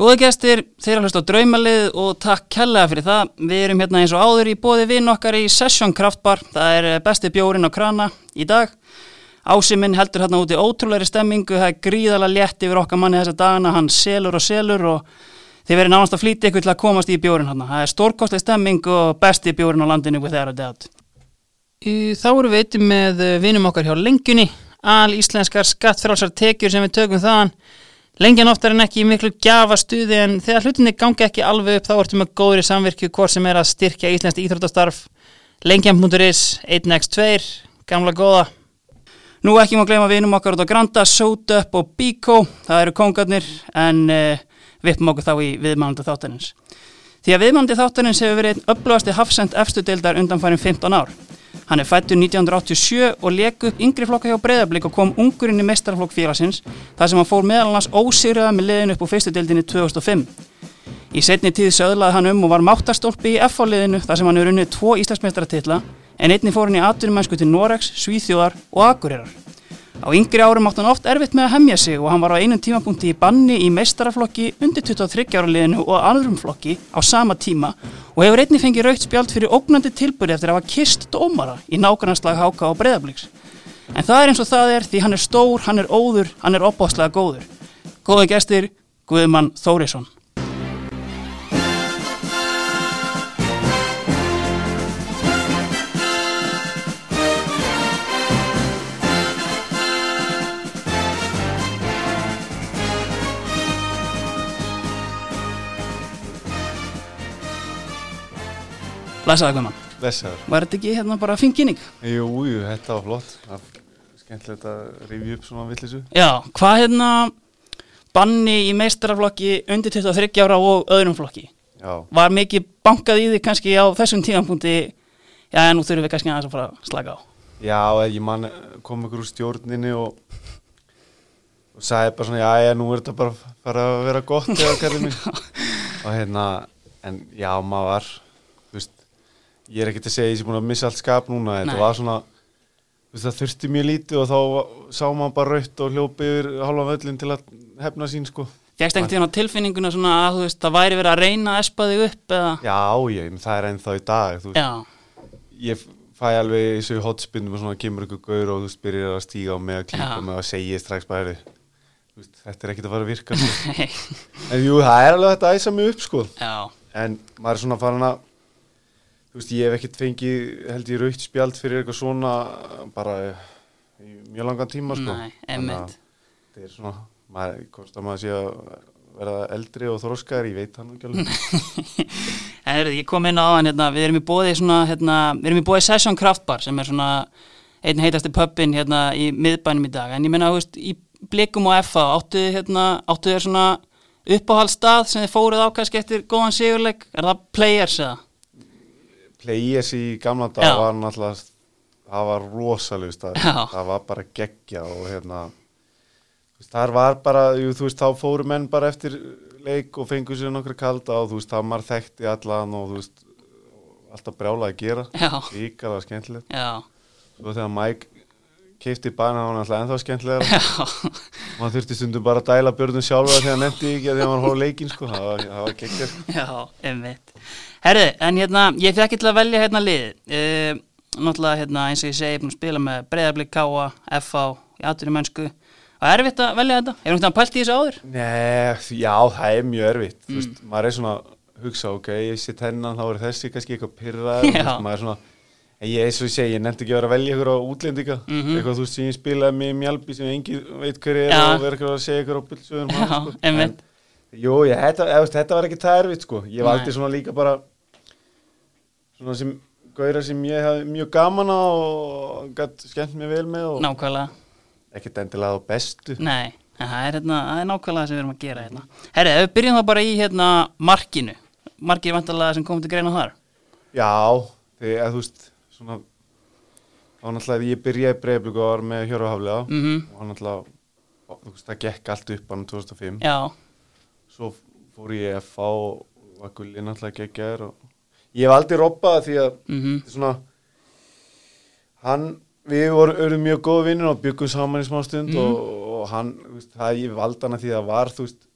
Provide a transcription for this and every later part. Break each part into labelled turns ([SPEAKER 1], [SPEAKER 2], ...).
[SPEAKER 1] Góða gestir, þeir að hlusta á draumalið og takk kærlega fyrir það. Við erum hérna eins og áður í bóði vinn okkar í Session Kraftbar. Það er eh, besti bjórin á krana í dag. Ásiminn heldur hérna úti ótrúleiri stemmingu, það er gríðalega létt yfir okkar manni þessa dagana, hann selur og selur og þið verið nánast að flýta ykkur til að komast í bjórin hérna. Það er stórkostlega stemming og besti bjórin á landinu with their doubt. Í- Þá erum við eittum með eh, vinum okkar hjá lengjunni, al íslenskar skattfrálsar tekjur sem við tökum þaðan. Lengjan oftar en ekki í miklu gjafastuði en þegar hlutinni gangi ekki alveg upp þá ertum með góðri samvirkju hvort sem er að styrkja íslenskt íþróttastarf. Lengjan.is, 1x2, gamla góða. Nú ekki má gleyma vinum okkar út á Granda, Sót Up og Bíkó, það eru kongarnir en uh, vippum okkur þá í viðmælanda þáttanins. Því að viðmandi þáttarins hefur verið einn upplöðasti hafsend efstudeildar undanfærin 15 ár. Hann er fættur 1987 og leik upp yngri flokka hjá breyðablík og kom ungurinn í mestarflokk félagsins þar sem hann fór meðalans ósýrjaða með liðin upp úr fyrstudeildinni 2005. Í setni tíð söðlaði hann um og var máttarstólpi í FH-liðinu þar sem hann er unnið tvo íslensmestaratitla en einni fór hann í atvinnumennsku til Noregs, Svíþjóðar og Akureyrar. Á yngri árum átti hann oft erfitt með að hemja sig og hann var á einum tímapunkti í banni í meistaraflokki undir 23 ára liðinu og anðrum flokki á sama tíma og hefur einni fengið rautt spjald fyrir ógnandi tilbúri eftir að hafa kist dómara í nákvæmnarslag háka og breyðabliks. En það er eins og það er því hann er stór, hann er óður, hann er opbáslega góður. Góða gestir, Guðmann Þórisson. Læsaða Guðmann.
[SPEAKER 2] Blessaður.
[SPEAKER 1] Var þetta ekki hérna bara fín kynning?
[SPEAKER 2] Jú, jú, þetta var flott. Það er Skemmtilegt að rifja upp svona villisu.
[SPEAKER 1] Já, hvað hérna banni í meistaraflokki undir 23 ára og öðrum flokki?
[SPEAKER 2] Já,
[SPEAKER 1] Var mikið bankað í því kannski á þessum tímanpunkti Já, nú þurfum við kannski aðeins að fara að slaka á
[SPEAKER 2] já, eða ég man kom ykkur úr stjórninni og, og sagði bara svona, já, já, nú er þetta bara, bara að vera gott eða kallið mín. og hérna, en já, maður var, þú veist, ég er ekkert að segja að ég sé búin að missa allt skap núna.
[SPEAKER 1] Nei.
[SPEAKER 2] Þetta var svona, þú veist, það þurfti mjög lítið og þá va- sá maður bara raut og hljópi yfir hálfa völlin til að hefna sín, sko.
[SPEAKER 1] Fjöxt einhvern tíðan á tilfinninguna svona að þú veist, það væri verið að reyna að espa þig upp eða
[SPEAKER 2] Já, ég, það er ennþá í dag, þú veist.
[SPEAKER 1] Já,
[SPEAKER 2] ég fæ alveg í þessu hotspinnum og svona kemur ykkur gaur og þú spyrir að stíga á mig að klípa
[SPEAKER 1] Já.
[SPEAKER 2] mig og segja strax bara "Heyrðu, þú veist, þetta er ekkert að fara að virka sko."
[SPEAKER 1] Nei.
[SPEAKER 2] en jú, það er alveg hægt að æsa mig upp sko
[SPEAKER 1] já,
[SPEAKER 2] en maður er svona farin að þú veist, ég hef ekkert fengið held ég raukt spjald fyrir eitthvað svona bara í mjög langan tíma sko
[SPEAKER 1] Nei,
[SPEAKER 2] Þannig að
[SPEAKER 1] einmitt.
[SPEAKER 2] þetta er svona, maður komst að maður sé að verða eldri og þróskar, ég veit hann ekki alveg
[SPEAKER 1] En heyrðu, ég kom inn á hann, hérna, við erum í bóði svona, hérna, við erum í bóði Session Craft Bar sem er svona einn heitasti pubin hérna í miðbænum í dag. En ég meina, þú veist, í blikum og FA áttu þið, hérna, áttu þið svona uppáhaldstað sem þið fóruð á kannski eftir góðan sigurleik, er það players eða?
[SPEAKER 2] Players í gamla
[SPEAKER 1] Já.
[SPEAKER 2] dag var náttúrulega það var rosalega stað
[SPEAKER 1] Já.
[SPEAKER 2] það var bara geggja og hérna þú veist, þar var bara, jú, þú veist, þá fóru menn bara eftir leik og fengu sér nokkra kalda og þú veist, það maður þekkti allan og þú veist, alltaf brjála að gera
[SPEAKER 1] Já.
[SPEAKER 2] líka það skemmtilegt
[SPEAKER 1] Já,
[SPEAKER 2] og þegar Mike keipti bæna hann alltaf ennþá skemmtilega
[SPEAKER 1] já,
[SPEAKER 2] maður þurfti stundum bara að dæla börnum sjálfa þegar hann nefndi ekki að því að hann hóð leikinn sko, það var, það var geggja sko.
[SPEAKER 1] já, einmitt. Herðu, en hérna, ég fekk ekki til að velja hérna liðið. Uh, náttúrulega, hérna, eins og ég segi, ég er búin að spila með breyðarblik, K.A., FA, í aðtunum mennsku. Það er erfitt að velja þetta. Hefur náttúrulega pælt í þessu áður?
[SPEAKER 2] Nei, því- já, það er mjög erfitt
[SPEAKER 1] Mm.
[SPEAKER 2] Þú veist, maður er svona að hugsa, ok, ég sitt hennan þá er þessi kannski eitthvað pyrraður þú
[SPEAKER 1] Já.
[SPEAKER 2] veist, maður er svona, en ég, eins og ég segi, ég nefndi ekki að vera að velja ykkur á útlendinga eitthvað þú veist sem ég spilaði með í Mjálpi sem engin veit hver
[SPEAKER 1] Mhm.
[SPEAKER 2] er
[SPEAKER 1] Já.
[SPEAKER 2] og verður ykkur að segja ykkur á um bylsöðum
[SPEAKER 1] Já, einmitt.
[SPEAKER 2] sko. Jú, ég, þetta, eða, þú veist, þetta var ekki það erfitt sko,
[SPEAKER 1] Nei.
[SPEAKER 2] ég var aldrei svona líka bara svona sem gauðra sem ég hafði mjög gaman á og gætt skemmt mér vel með og
[SPEAKER 1] Nákvæmlega,
[SPEAKER 2] ekkert endilega á bestu
[SPEAKER 1] nei, en það er, hérna, það er nákvæmlega sem við erum að gera hérna. Herri, ef við byrjum þá bara í hérna markinu, markið vantarlega sem kom til greina þar.
[SPEAKER 2] Já, þegar þú veist svona, þá náttúrulega ég byrjaði breyðblík og var með Hjörðu Haflega
[SPEAKER 1] Mhm.
[SPEAKER 2] og hann náttúrulega, þú veist, það gekk allt upp hann 2005,
[SPEAKER 1] Já,
[SPEAKER 2] svo fór ég í FA og var gulli náttúrulega geggjaður og ég hef aldrei roppað því að
[SPEAKER 1] mhm,
[SPEAKER 2] þetta er svona hann, við vorum erum mjög góð vinnir og byggum
[SPEAKER 1] Mhm.
[SPEAKER 2] saman í smá stund og, og hann, þú veist, það ég valdi hana því að það var, þú veist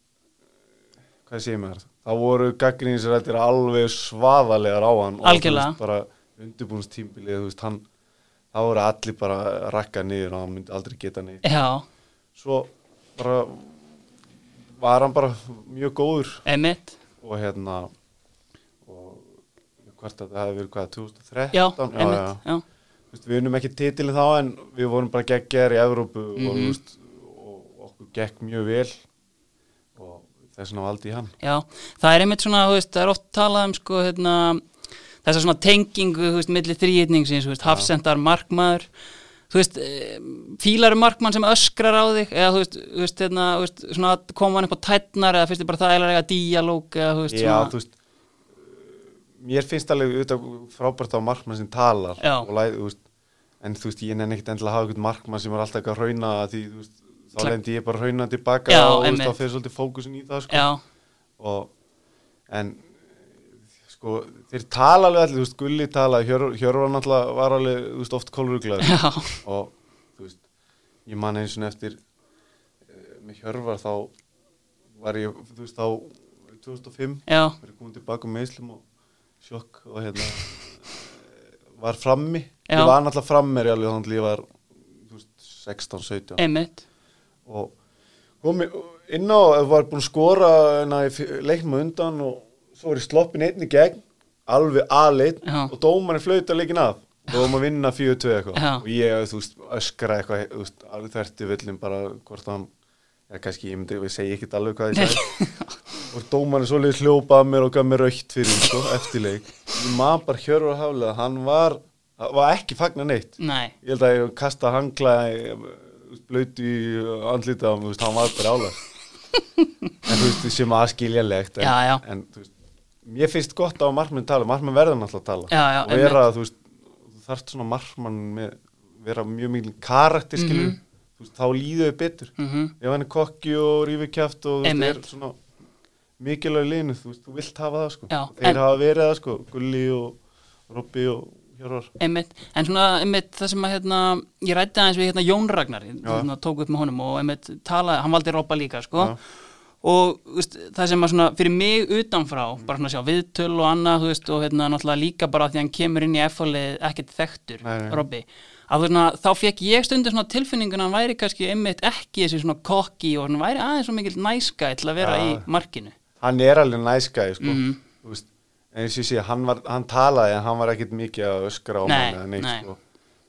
[SPEAKER 2] hvað sé ég með það, það voru gaggrínsrættir alveg svaðalegar á hann
[SPEAKER 1] Algjörlega.
[SPEAKER 2] og þú veist, bara undirbúinstímbilið, þú veist, hann það voru allir bara að rakka niður og hann myndi aldrei geta niður
[SPEAKER 1] Já,
[SPEAKER 2] svo bara var hann bara mjög góður
[SPEAKER 1] emitt
[SPEAKER 2] og hérna og hvert að það hefði verið hvað 2013
[SPEAKER 1] Já, emitt, já,
[SPEAKER 2] Þú veist, við unum ekki titilin þá en við vorum bara geggjar í Evrópu og, þú veist, og okkur gegg mjög vel og þess vegna valdi ég hann
[SPEAKER 1] já Það er einmitt svona, þú veist, það er oft talað um sko, hérna, þessa svona tengingu, þú veist, milli þrýjitningsins, þú veist, hafsendar markmaður þú veist, eh, fílar er markmann sem öskrar á þig eða þú veist, þú veist, hérna, þú veist svona að koma hann upp á tætnar eða finnst þið bara það eiginlega eiga díalóg eða þú veist,
[SPEAKER 2] Já,
[SPEAKER 1] svona
[SPEAKER 2] þú veist mér finnst alveg auðvitað frábært á markmann sem talar
[SPEAKER 1] Já.
[SPEAKER 2] og læð, þú veist, en þú veist, ég nenni ekkit endilega að hafa eitthvað markmann sem er alltaf eitthvað að hrauna því, þú veist, þá
[SPEAKER 1] Klak-
[SPEAKER 2] lendi ég bara að hrauna tilbaka
[SPEAKER 1] Já,
[SPEAKER 2] og þú veist,
[SPEAKER 1] einmitt.
[SPEAKER 2] þá fyrir svolítið fókusin í það sko.
[SPEAKER 1] Já,
[SPEAKER 2] og en sko, þeir tala alveg allir, þú veist, Gulli tala Hjörvar náttúrulega var alveg, þú veist, oft kólruglaður
[SPEAKER 1] já,
[SPEAKER 2] og þú veist, ég man eins og eftir eh, með Hjörvar þá var ég, þú veist, þá 2005,
[SPEAKER 1] já
[SPEAKER 2] var ég komin tilbaka með Íslum og sjokk og hérna eh, var frammi
[SPEAKER 1] Já.
[SPEAKER 2] ég var náttúrulega frammeri alveg þannig að ég var þú veist, 16, 17
[SPEAKER 1] emitt,
[SPEAKER 2] og kom í- inn á var búinn að skora hérna, í f- leiknum á undan og svo er ég sloppin einn í gegn alveg aðleitt
[SPEAKER 1] Já.
[SPEAKER 2] og dómarinn flauta leikin af og vorum að vinna 4-2 eitthvað
[SPEAKER 1] Já.
[SPEAKER 2] og ég þú veist, öskra eitthvað þú veist, alveg þerti völlum bara hvort hann Já, kannski, ég myndi, ég segi ekkert alveg hvað ég sagði og dómarinn svolítið hljópa að mér og gaf mér raukt fyrir, sko, eftirleik ég man bara hjörur að haflega, hann var hann var ekki fagnar neitt
[SPEAKER 1] nei
[SPEAKER 2] ég held að ég kasta hangla blötu í andlita þú veist, hann var bara álag en þú veist, sem aðskiljanlegt en,
[SPEAKER 1] Já, já.
[SPEAKER 2] en þú veist, mér finnst gott á að markmann tala, markmann verður náttúrulega að tala
[SPEAKER 1] Já, já,
[SPEAKER 2] og vera, þú veist, þú þarft svona markmann með, vera mjög mikil karakter, skilur, þú veist, þá líðu þau betur,
[SPEAKER 1] Mhm.
[SPEAKER 2] ef hann er kokki og rífikjaft og þú veist,
[SPEAKER 1] Einmitt.
[SPEAKER 2] er svona mikilvæg línu, þú veist, þú vilt hafa það sko,
[SPEAKER 1] Já,
[SPEAKER 2] þeir
[SPEAKER 1] en-
[SPEAKER 2] hafa verið það sko Gulli og Robby og Hjörvar
[SPEAKER 1] einmitt, en svona einmitt það sem að hérna, ég rætti aðeins við hérna Jón Ragnar ég,
[SPEAKER 2] Já.
[SPEAKER 1] hérna, tók upp með honum og einmitt talaði, hann valdi Robba líka sko
[SPEAKER 2] Já.
[SPEAKER 1] og veist, það sem að svona fyrir mig utanfrá,
[SPEAKER 2] Mm.
[SPEAKER 1] bara svona að sjá viðtöl og annað þú veist, og hérna náttúrulega líka bara því að hann kemur inn í F-fólið ekkert þekktur
[SPEAKER 2] Nei, nei.
[SPEAKER 1] Robbi, að þú veist svona þá fekk ég stundu svona tilfinninguna að hann væri kannski einmitt ekki þessi svona kokki og hann væri aðeins svo mikill næska til að vera
[SPEAKER 2] Já.
[SPEAKER 1] í markinu
[SPEAKER 2] hann er alveg næskæði sko.
[SPEAKER 1] Mhm.
[SPEAKER 2] Þú veist, eins og ég sé, hann, var, hann talaði en hann var ekkit mikið að öskra á
[SPEAKER 1] Nei,
[SPEAKER 2] mann eða neitt
[SPEAKER 1] nei.
[SPEAKER 2] sko.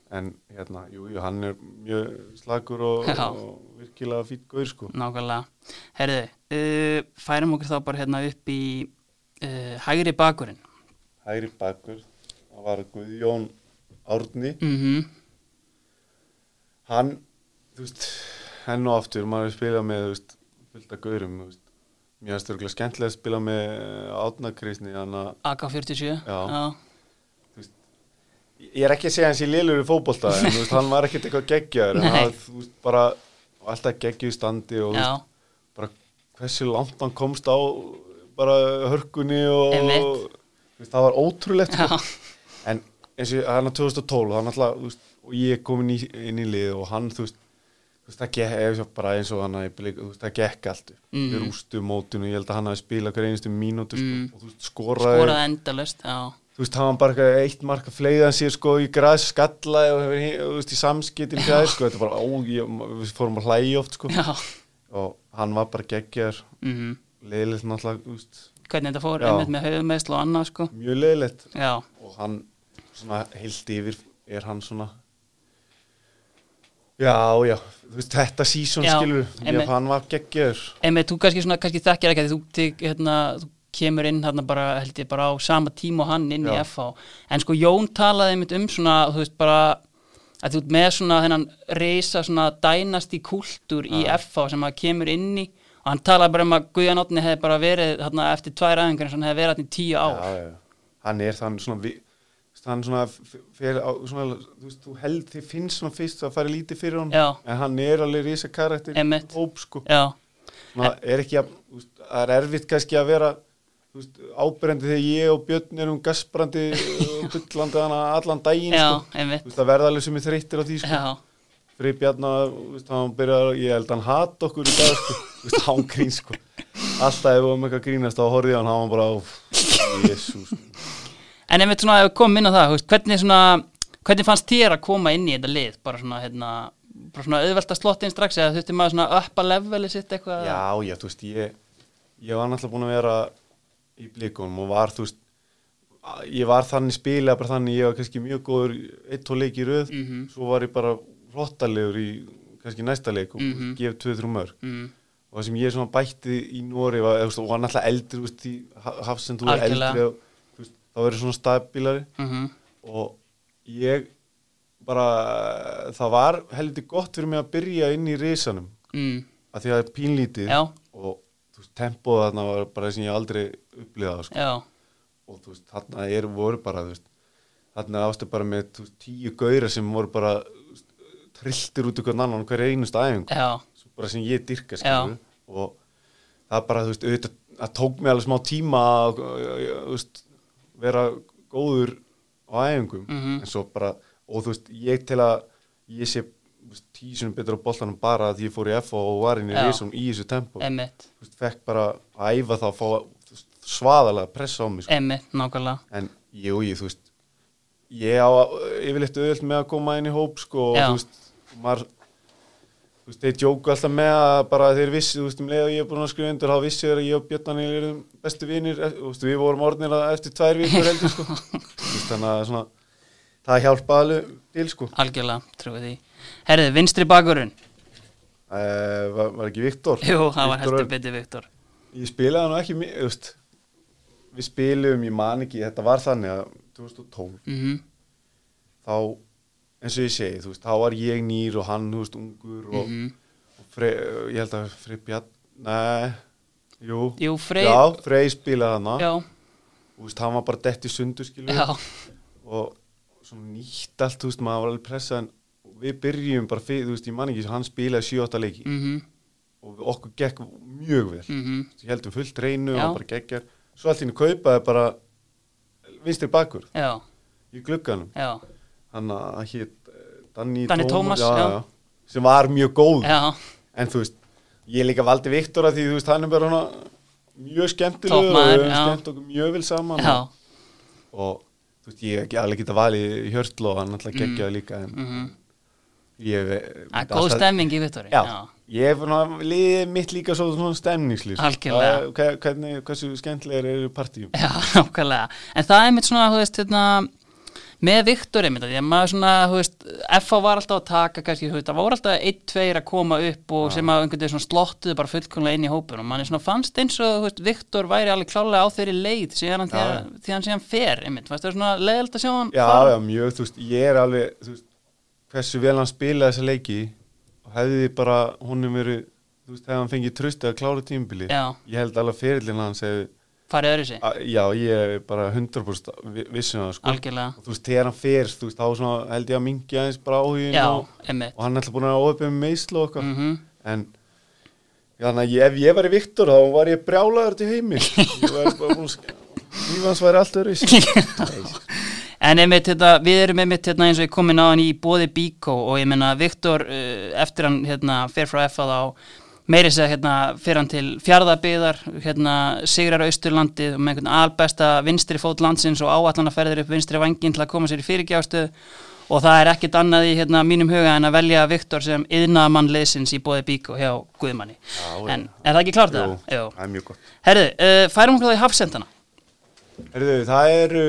[SPEAKER 2] en hérna, jú, jú, hann er mjög slagur og,
[SPEAKER 1] Já.
[SPEAKER 2] og virkilega fýtt gaur sko.
[SPEAKER 1] Nákvæmlega. Herðu, uh, færum okkur þá bara hérna upp í uh, hægri bakurinn.
[SPEAKER 2] hægri bakur, það var Guðjón Árni
[SPEAKER 1] Mm
[SPEAKER 2] hann, þú veist henn og aftur, maður hefur spilað með þú veist, fullt af gaurum, þú veist mér er störglega skemmtilega að spila með átnakristni, hann að
[SPEAKER 1] AK-47.
[SPEAKER 2] Já. Ég er ekki að segja hans í lélur í fótbolta en þú veist, hann var ekkert eitthvað geggjaður en
[SPEAKER 1] Nei.
[SPEAKER 2] hann, þú veist, bara alltaf geggjuð í standi og þú
[SPEAKER 1] Já.
[SPEAKER 2] veist, bara hversu langt hann komst á bara hörkunni og
[SPEAKER 1] Einmitt.
[SPEAKER 2] þú veist, það var ótrúlegt
[SPEAKER 1] Já.
[SPEAKER 2] sko. en eins og hann er 2012 hann alltaf, þú veist, og ég er komin í, inn í lið og hann, þú veist, þú veist það gekk ef ég bara eins og hann að ég blík, þú veist, það gekk allt
[SPEAKER 1] Mhm.
[SPEAKER 2] við rústu mótinu, ég held að hann hafi spilað hver einustu mínútu sko,
[SPEAKER 1] Mm.
[SPEAKER 2] og þú veist, skoraði,
[SPEAKER 1] Skoraði endalust. Já.
[SPEAKER 2] þú veist, hann var bara eitthvað eitt marka fleiðan sér sko í græs skallaði og hefur, hin- þú veist, í samskiptin græs sko, þetta er bara, ó, ég, við fórum að hlæja oft sko,
[SPEAKER 1] Já.
[SPEAKER 2] og hann var bara geggjar
[SPEAKER 1] Mm
[SPEAKER 2] leiðilegt náttúrulega, þú veist,
[SPEAKER 1] Hvernig þetta fór,
[SPEAKER 2] Já.
[SPEAKER 1] einmitt með höfumeðsl og annað, sko.
[SPEAKER 2] mjög leiðilegt
[SPEAKER 1] Já.
[SPEAKER 2] og hann, svona, heilt yfir er hann svona já, já þú veist, þetta sísón
[SPEAKER 1] Já,
[SPEAKER 2] skilur
[SPEAKER 1] einmitt.
[SPEAKER 2] ég, hann var geggjar
[SPEAKER 1] Einmitt, þú kannski svona, kannski þekkir ekki að þú, tek- hérna, þú kemur inn hérna bara, held ég, bara á sama tíma og hann inn í
[SPEAKER 2] Já.
[SPEAKER 1] FH. En sko, Jón talaði einmitt um svona, þú veist, bara að þú ert með svona þennan reysa svona dænasti kúltúr í FH sem að kemur inn í og hann talaði bara um að Guðján Otni hefði bara verið hérna, eftir tvær æfingar eins og hann hefði verið hérna í tíu ár.
[SPEAKER 2] já, já. hann er þann svona vi, hann svona, f- fer á, svona þú veist, þú held þið finnst svona fyrst að fara lítið fyrir hann
[SPEAKER 1] Já.
[SPEAKER 2] en hann er alveg rísa karakter
[SPEAKER 1] Einmitt.
[SPEAKER 2] hóp sko
[SPEAKER 1] Já,
[SPEAKER 2] Svona er ekki að, þú veist, það er erfitt kannski að vera þú veist, ábyrjandi þegar ég og Björn erum gasbrandi og byllandi hana allan daginn
[SPEAKER 1] já,
[SPEAKER 2] sko. Þú
[SPEAKER 1] einmitt.
[SPEAKER 2] veist, það verða alveg sem er þreyttir á því sko.
[SPEAKER 1] Já,
[SPEAKER 2] Frið Bjarnar, þú veist, hann byrjar, ég held hann hat okkur í dag, sko, Þú veist, hángrýn, sko. alltaf ef við varum eitthvað að grínast þá horfði ég á hann, hann var bara "Úff, jesús,
[SPEAKER 1] En ef við svona ef við komum inn á það, þú veist, hvernig, svona, hvernig fannst þér að koma inn í þetta lið? Bara svona, hérna, bara svona auðvelt að slotta inn strax eða þurfti maður svona uppa leveli sitt eitthvað?
[SPEAKER 2] Já, já, þú veist, ég, ég var náttúrulega búin að vera í blikunum og var, þú veist, a- ég var þannig spila bara þannig, ég var kannski mjög góður eitt tvo leik í röð, svo var ég bara flottalegur í kannski næsta leik og mm -hmm. gef tvö, þrjú mörg.
[SPEAKER 1] Mm,
[SPEAKER 2] Og það sem ég svona bætti í Nóri var, eða, þú veist, og var náttúrulega eldri, þú veist, í hafsend, þú er
[SPEAKER 1] Algjörlega.
[SPEAKER 2] eldri og, þú veist, þá verður svona stabilari
[SPEAKER 1] mm
[SPEAKER 2] og ég bara, það var heldur gott fyrir mig að byrja inn í risanum
[SPEAKER 1] mm,
[SPEAKER 2] að því að það er pínlítið
[SPEAKER 1] Já.
[SPEAKER 2] og þú veist, tempoð þarna var bara það sem ég aldrei upplýðað sko.
[SPEAKER 1] já,
[SPEAKER 2] og þú veist, þarna er, voru bara þú veist, þarna ástu bara með þú veist, tíu gauðra sem voru bara þú veist, trilltir út ykkur annan hverja einust æfingu
[SPEAKER 1] já,
[SPEAKER 2] Svo bara sem ég dyrka
[SPEAKER 1] Já.
[SPEAKER 2] skilur og það bara, þú veist, auðvitað það tók mig alveg smá tíma að þú veist, vera góður á æfingum
[SPEAKER 1] Mhm.
[SPEAKER 2] en svo bara, og þú veist, ég til að ég sé þú veist, tísunum betur á boltanum bara að ég fór í FO og var inn í
[SPEAKER 1] Já.
[SPEAKER 2] risum í þessu tempo
[SPEAKER 1] emmitt,
[SPEAKER 2] þú veist, fekk bara að æfa það að fá þú veist, svaðalega pressa á mig sko.
[SPEAKER 1] emmitt, nákvæmlega.
[SPEAKER 2] en jú, ég, þú veist ég á yfirleitt auðvöld með að koma inn í hóp sko, og
[SPEAKER 1] Já.
[SPEAKER 2] þú veist, maður þú veist, þeir djóku alltaf með að bara þeir vissi, þú veist, um leið og ég er búin að skrifa undir þá vissi þeir að ég og Björnani erum bestu vinir, eh, þú veist, við vorum orðnir að- eftir tvær vikur heldur, sko Þú veist, þannig að svona, það hjálpa alveg til, sko,
[SPEAKER 1] Algjörlega, trúið því. Herðið, vinstri bakurinn.
[SPEAKER 2] uh, var, var ekki Viktor
[SPEAKER 1] Jú, það var
[SPEAKER 2] Viktor
[SPEAKER 1] heldur
[SPEAKER 2] Örn.
[SPEAKER 1] betið Viktor.
[SPEAKER 2] Ég spilaði nú ekki mi- þú veist, Við spilum, ég man ekki Þetta var þannig að 2012
[SPEAKER 1] Mm
[SPEAKER 2] Þá, eins og ég segi þú veist, Þá var ég nýr og hann þú veist, ungur og,
[SPEAKER 1] Mhm.
[SPEAKER 2] og Frey, Ég held að Frey Bjarn Nei, jú,
[SPEAKER 1] Jú, Freyr-
[SPEAKER 2] Já, Frey spilaði hana
[SPEAKER 1] Já,
[SPEAKER 2] veist, Hann var bara dett í sundu skilu
[SPEAKER 1] já,
[SPEAKER 2] Og svona nýtt allt þú veist, Maður var alveg pressað en Við byrjum bara fyrir, þú veist, ég man ekki Hann spilaði 7-8 leiki
[SPEAKER 1] mhm, mhm,
[SPEAKER 2] Og okkur gekk mjög vel ég heldum fullt reynu
[SPEAKER 1] Mm. Já.
[SPEAKER 2] og bara geggjar svo allt í henni kaupaði bara vinstri bakur
[SPEAKER 1] já,
[SPEAKER 2] í glugganum
[SPEAKER 1] já,
[SPEAKER 2] hann að hétt Danny,
[SPEAKER 1] Danny Thomas, já.
[SPEAKER 2] sem var mjög góð
[SPEAKER 1] já,
[SPEAKER 2] en þú veist, ég líka valdi Viktor að því þú veist, hann er bara hana, mjög skemmtilegur og
[SPEAKER 1] Toppmaður, já.
[SPEAKER 2] við höfum skemmt okkur mjög vel saman
[SPEAKER 1] já,
[SPEAKER 2] og, og þú veist, ég hef ekki alveg geta valið Hjörtl og hann alltaf geggjaði líka en
[SPEAKER 1] mhm.
[SPEAKER 2] ég hef eh,
[SPEAKER 1] Það er góð stemming í Viktori.
[SPEAKER 2] Já, ég hef svona- liðið mitt líka svo- svona stemningslýs
[SPEAKER 1] Algjörlega.
[SPEAKER 2] Hvernig, hversu skemmtilegur eru partíum
[SPEAKER 1] Já, nákvæmlega. En það er mitt svona, þú veist, hérna, með Viktor einmitt, af því að maður svona, þú veist, FA var alltaf að taka, kannski, þú veist, það voru alltaf einn, tveir að koma upp og sem að einhvern veginn svona slottuðu bara fullkomlega inn í hópur og manni svona fannst eins og, þú veist, Viktor væri alveg klálega á þeirri leið síðan hann, þegar, þegar hann síðan fer, einmitt, fannst það svona leiðilegt að sjá hann
[SPEAKER 2] Já,
[SPEAKER 1] fara?
[SPEAKER 2] já, mjög, þú veist, ég er alveg þú veist, hversu vel hann spilaði þessa leiki og hefði bara honum verið, þú veist, hefði hann fengið trösti að klára tímbili,
[SPEAKER 1] Já.
[SPEAKER 2] ég held alveg fyrirlinn hans hefði,
[SPEAKER 1] Farið öðru sig,
[SPEAKER 2] a- já, ég er bara 100% vi- vissum það, sko
[SPEAKER 1] algjörlega.
[SPEAKER 2] og þú veist, þegar hann fer, þú veist, þá svona held ég að mingi aðeins bara áhugin
[SPEAKER 1] Já,
[SPEAKER 2] og,
[SPEAKER 1] einmitt.
[SPEAKER 2] og hann er alltaf búin að óöfum með meislu og eitthvað
[SPEAKER 1] Mm
[SPEAKER 2] en þannig að ég, ef ég væri Viktor þá var ég brjálaður til heimi ég væri bara búin að sk- líf hans væri alltaf öðruvísi.
[SPEAKER 1] En einmitt, hérna, við erum einmitt hérna, eins og ég komin á hann í bóði Bíkó og ég meina Viktor uh, eftir hann hérna, fer frá FA þá meiri segja hérna, fer hann til fjárðabyðar, hérna, sigrar austurlandið og með einhvern albesta vinstri fót landsins og áallanaferðir upp vinstri vangin til að koma sér í fyrirgjástuð og það er ekkit annað í hérna, mínum huga en að velja Viktor sem yðnaðamann liðsins í bóði Bíkó hjá Guðmanni.
[SPEAKER 2] Já, já.
[SPEAKER 1] en er það ekki klart
[SPEAKER 2] Jú,
[SPEAKER 1] það? Jú.
[SPEAKER 2] það er mjög gott
[SPEAKER 1] Herðu, uh, færum okkur það í hafsendana.
[SPEAKER 2] Herðu, það eru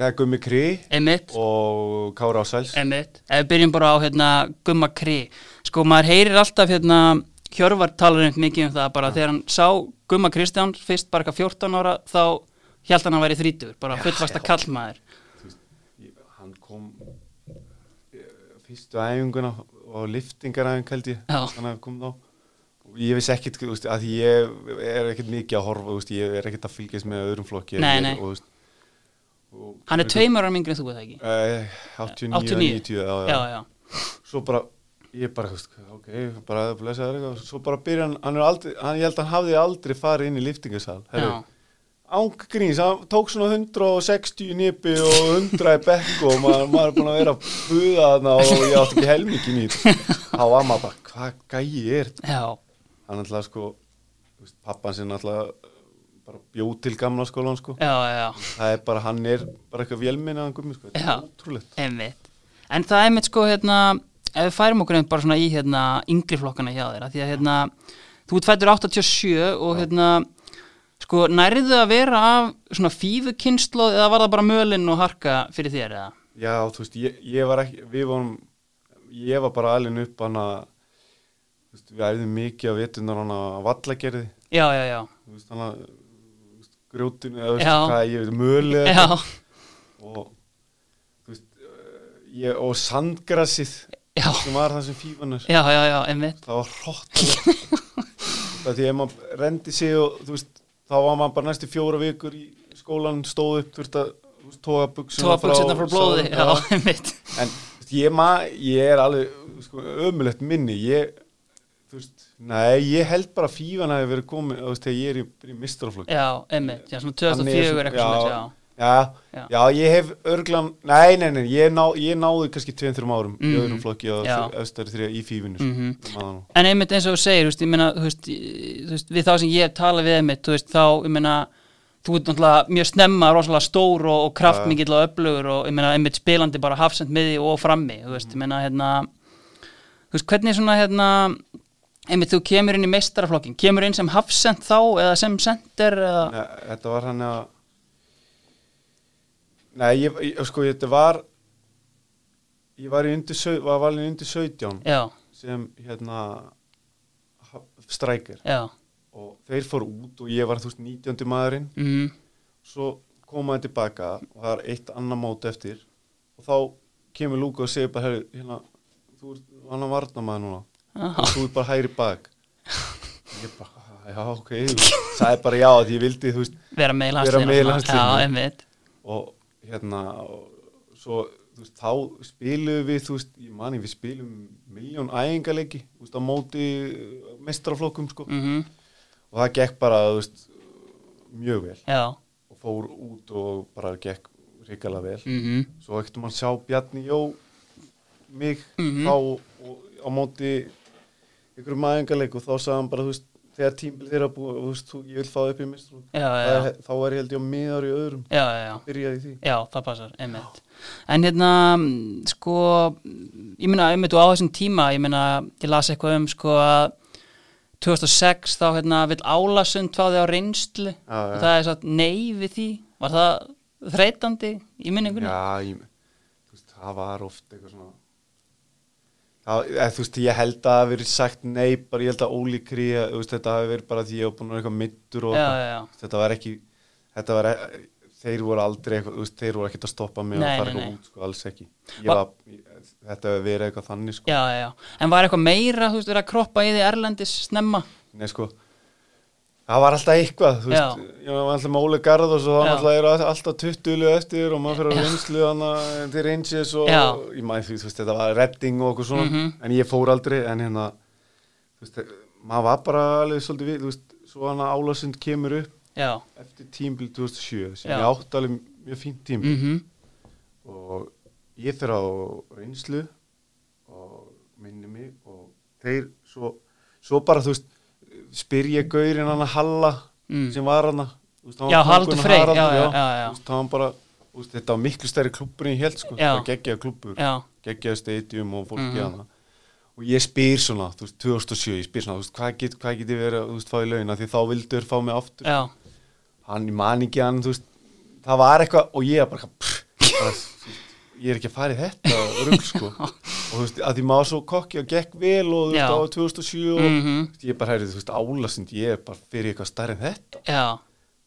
[SPEAKER 2] það er Gummi Kri
[SPEAKER 1] Einmitt.
[SPEAKER 2] og Kára Ásæls
[SPEAKER 1] Einmitt, ef við byrjum bara á hérna, gumma kri, sko maður heyrir alltaf hérna, Hjörvar talar einmitt mikið um það bara þegar hann sá gumma Kristján fyrst bara eitthvað 14 ára þá held hann að væri 30, bara fullvasta kallmaður
[SPEAKER 2] Þú veist, ég- hann kom eh, fyrstu æfinguna og liftingaræfing held ég
[SPEAKER 1] Já.
[SPEAKER 2] þannig að kom þá Og ég vissi ekkit, þú veist, að ég er ekkit mikið að horfa, þú veist, ég er ekkit að fylgjast með öðrum flokki
[SPEAKER 1] Nei,
[SPEAKER 2] Ég er-
[SPEAKER 1] nei.
[SPEAKER 2] og, þú veist, og,
[SPEAKER 1] hann er tveimur ára mingri en þú veit það ekki
[SPEAKER 2] eh, 89,
[SPEAKER 1] 89.
[SPEAKER 2] 90 já,
[SPEAKER 1] já, já,
[SPEAKER 2] svo bara ég bara, þú veist, ok, bara blessaður eitthvað, svo bara byrja hann, hann er aldrei hann, ég held að hann hafði aldrei farið inn í liftingasal
[SPEAKER 1] já,
[SPEAKER 2] ángríns, hann tók svona 160 nipi og 100 í bekk og maður, maður er búin að vera að buða þarna og ég átti ekki helmingin í þetta. þá var maður bara, hvað gæi er þetta?
[SPEAKER 1] já,
[SPEAKER 2] hann ætlaði sko veist, pappan sinn alltaf bara bjó til gamla skólan sko
[SPEAKER 1] já, já, já.
[SPEAKER 2] það er bara, hann er bara eitthvað vélminni að hann gummi sko, þetta
[SPEAKER 1] Já.
[SPEAKER 2] er ótrúlegt
[SPEAKER 1] Einmitt. En það er einmitt sko hérna, ef við færum okkur einmitt bara svona í hérna, yngri flokkana hjá þér, af því að hérna, þú ert fættur 87 og hérna, sko nærðu að vera af svona fífukynslu eða var það bara mölin og harka fyrir þér eða?
[SPEAKER 2] já, þú veist, ég, ég var ekki við varum, ég var bara alveg upp hann að þú veist, við æfðum mikið á vetunar hann að vallagerði
[SPEAKER 1] Já, já, já,
[SPEAKER 2] þú veist, hann að þú veist, grjótinu, eða þú veist,
[SPEAKER 1] Já.
[SPEAKER 2] hvað ég veit, mölu eða
[SPEAKER 1] já,
[SPEAKER 2] eitthvað. og þú veist, ég, og sandgrassið
[SPEAKER 1] já,
[SPEAKER 2] sem var það sem fífanar
[SPEAKER 1] já, já, já, einmitt,
[SPEAKER 2] það var hróttalegt það því ef maður rendi sig og þú veist, þá var maður bara næstu fjóra vikur í skólan stóð upp þurft að þú veist, toga buksuna
[SPEAKER 1] tóa buksinna frá blóði, já,
[SPEAKER 2] já.
[SPEAKER 1] einmitt,
[SPEAKER 2] en þú veist, ég, ma, ég er alveg sko, ömulegt minni ég, þú veist, nei, ég held bara að fífan hafi verið komin þú veist, þegar ég er í, í mistraflokk
[SPEAKER 1] já, einmitt, já, svona
[SPEAKER 2] Hann er
[SPEAKER 1] 2004
[SPEAKER 2] svona-
[SPEAKER 1] eitthvað svona, já.
[SPEAKER 2] Já,
[SPEAKER 1] Já.
[SPEAKER 2] já, ég hef örglan, nei, nei, nei, ég, ná, ég náði kannski 2-3 árum í
[SPEAKER 1] Mhm.
[SPEAKER 2] öðrum flokki og
[SPEAKER 1] Já.
[SPEAKER 2] öðstari þrjá í fífinu
[SPEAKER 1] Mhm.
[SPEAKER 2] -hmm.
[SPEAKER 1] En einmitt eins og þú segir, þú veist, ég meina, þú veist, ég- þú veist, við þá sem ég tala við einmitt, þú veist, þá, ég meina, þú ert náttúrulega mjög snemma, rosalega stór og, og kraftmikill og öflugur og, ég meina, einmitt spilandi bara hafsend miði og frammi, þú veist, ég meina, hérna, þú veist, hvernig svona, hérna, einmitt, þú kemur inn í meistaraflokkin, kemur inn sem hafsend þá eða sem sender eða,
[SPEAKER 2] Nei, þetta var hann að Nei, ég, ég, sko, þetta var ég var í undir, sau- var valin undir 17
[SPEAKER 1] já,
[SPEAKER 2] sem hérna strækir
[SPEAKER 1] já,
[SPEAKER 2] og þeir fór út og ég var þú veist 19. maðurinn
[SPEAKER 1] mhm,
[SPEAKER 2] svo koma þeir tilbaka og það er eitt annað mót eftir og þá kemur Lúka og segir bara "Heyrðu, hérna, þú ert annan varnamaður núna
[SPEAKER 1] já,
[SPEAKER 2] og þú ert bara hægri bak ég bara, já ok það er bara já að ég vildi þú veist
[SPEAKER 1] vera með í
[SPEAKER 2] Vera með í
[SPEAKER 1] landsliðinu,
[SPEAKER 2] landsliðinu.
[SPEAKER 1] já, einmitt,
[SPEAKER 2] og hérna og svo þú veist, þá spilum við þú veist, ég mani við spilum miljón æfingarleiki þú veist, á móti mestraflokkum sko
[SPEAKER 1] mhm,
[SPEAKER 2] og það gekk bara þú veist, mjög vel
[SPEAKER 1] já,
[SPEAKER 2] og fór út og bara gekk ríkala vel
[SPEAKER 1] mhm,
[SPEAKER 2] svo ekkert mann sjá Bjarni Jó mig
[SPEAKER 1] Mhm.
[SPEAKER 2] þá og, á móti ykkur maðingarleik og þá sagði hann bara þú veist, þegar tímbil þeirra búið þú veist, þú, ég vil fá það upp í mistrum
[SPEAKER 1] já, já, já,
[SPEAKER 2] þá er ég held ég á miðar í öðrum
[SPEAKER 1] já, já, já.
[SPEAKER 2] byrjaði í því
[SPEAKER 1] Já, það passar, einmitt. En hérna, mm, sko, ég meina, einmitt og á þessum tíma, ég meina, ég las eitthvað um, sko, að 2006 þá, hérna, vill Álasund fá þig á reynslu
[SPEAKER 2] Já, já.
[SPEAKER 1] og það er satt nei við því. Var það þreytandi í minningunni?
[SPEAKER 2] Já, ég, þú veist, það var oft eitthvað svona það, eð, þú veist, ég held að það hafi verið sagt nei, bara ég held að ólíkri að, þú veist, þetta hafi verið bara því ég var búin að vera eitthvað middur og
[SPEAKER 1] Já,
[SPEAKER 2] eitthvað.
[SPEAKER 1] já, já.
[SPEAKER 2] þetta var ekki þetta var, e- þeir voru aldrei eitthvað, þú veist, þeir voru ekkert að stoppa mig
[SPEAKER 1] Nei,
[SPEAKER 2] og fara
[SPEAKER 1] nei,
[SPEAKER 2] eitthvað
[SPEAKER 1] nei.
[SPEAKER 2] út, sko, alls ekki ég
[SPEAKER 1] Va-
[SPEAKER 2] var, ég, þetta hefur verið eitthvað þannig, sko
[SPEAKER 1] Já, já, já. En var eitthvað meira, þú veist, verið að kroppa í því Erlendis snemma?
[SPEAKER 2] nei, sko Það var alltaf eitthvað, þú veist, ég var alltaf með Óli Garð og svo
[SPEAKER 1] Já.
[SPEAKER 2] það alltaf eru alltaf 20 lið eftir og maður fyrir að reynslu þannig til Rangers og
[SPEAKER 1] Já.
[SPEAKER 2] ég maður því, þú veist, þetta var redding og okkur svona,
[SPEAKER 1] Mhm.
[SPEAKER 2] en ég fór aldrei, en hérna, þú veist, eh, maður var bara alveg svolítið við, þú veist, svo hann að Álasund kemur upp
[SPEAKER 1] Já.
[SPEAKER 2] eftir tímbil 2007, sem
[SPEAKER 1] Já.
[SPEAKER 2] ég átt alveg mjög fínt tímbil
[SPEAKER 1] Mhm.
[SPEAKER 2] og ég fyrir á reynslu og minni mig og þeir svo, svo bara þú veist spyr ég gaurinn hann að Halla
[SPEAKER 1] Mm.
[SPEAKER 2] sem var hann að
[SPEAKER 1] Já, Halldór Freyr, já, já, já, já.
[SPEAKER 2] það var bara þú veist, þetta var miklu stærri klubburinn ég held sko,
[SPEAKER 1] Já.
[SPEAKER 2] það geggjaði klubbur
[SPEAKER 1] Já.
[SPEAKER 2] geggjaði stadium og fólk
[SPEAKER 1] Mhm.
[SPEAKER 2] mm -hmm. og ég spyr svona, þú veist, 2007 ég spyr svona, þú veist, hvað get, hvað get ég verið að, þú veist, fá í launa því þá vildur fá mig aftur
[SPEAKER 1] Já.
[SPEAKER 2] hann í maningi hann, þú veist það var eitthvað og ég bara, pff, bara þú veist, ég er ekki að fara í þetta rugl sko og þú veist, að því maður svo kokki og gekk vel og þú
[SPEAKER 1] Já.
[SPEAKER 2] veist, á 2007 og mm
[SPEAKER 1] Mhm.
[SPEAKER 2] ég bara heyrði, þú veist, álasund ég er bara fyrir eitthvað stærri en þetta
[SPEAKER 1] Já.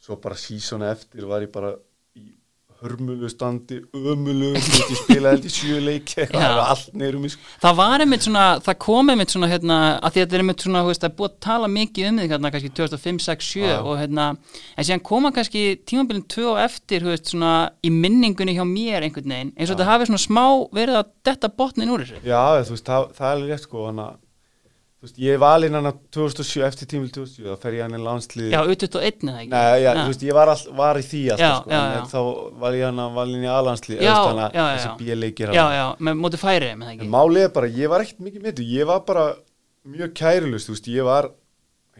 [SPEAKER 2] svo bara sísona eftir var ég bara í hörmulu standi ömulu, þú veist, ég spilaði held í sjö leiki eitthvað,
[SPEAKER 1] Já.
[SPEAKER 2] það var allt neyrum í sko
[SPEAKER 1] Það var einmitt svona, það kom einmitt svona hérna, að því að þetta er einmitt svona, þú veist, það er búið að tala mikið um þig hérna, kannski 2005, 6, 7
[SPEAKER 2] Já.
[SPEAKER 1] og hérna, en síðan koma kannski tímabilin 2 og eftir, þú veist, svona í minningunni hjá mér einhvern veginn, eins og þetta hafi svona smá verið að detta botnin úr þessu.
[SPEAKER 2] Já, þú veist, það, það er alveg rétt sko hana, þú veist, ég valin hann að 2007 eftir tímil 2007, þá fer ég hann í landslið
[SPEAKER 1] Já, ut og einn eða ekki.
[SPEAKER 2] Nei, já, þú veist, ég var, all, var í því alltaf,
[SPEAKER 1] Já,
[SPEAKER 2] sko,
[SPEAKER 1] já,
[SPEAKER 2] en
[SPEAKER 1] já.
[SPEAKER 2] þá var ég hann að valin í alansli,
[SPEAKER 1] Já,
[SPEAKER 2] þannig að
[SPEAKER 1] já, já.
[SPEAKER 2] þessi bíleikir
[SPEAKER 1] Já, já, með móti færi með það
[SPEAKER 2] En
[SPEAKER 1] ekki.
[SPEAKER 2] málið er bara, ég var ekkert mikið með þetta, ég var bara mjög kærilust, þú veist, ég var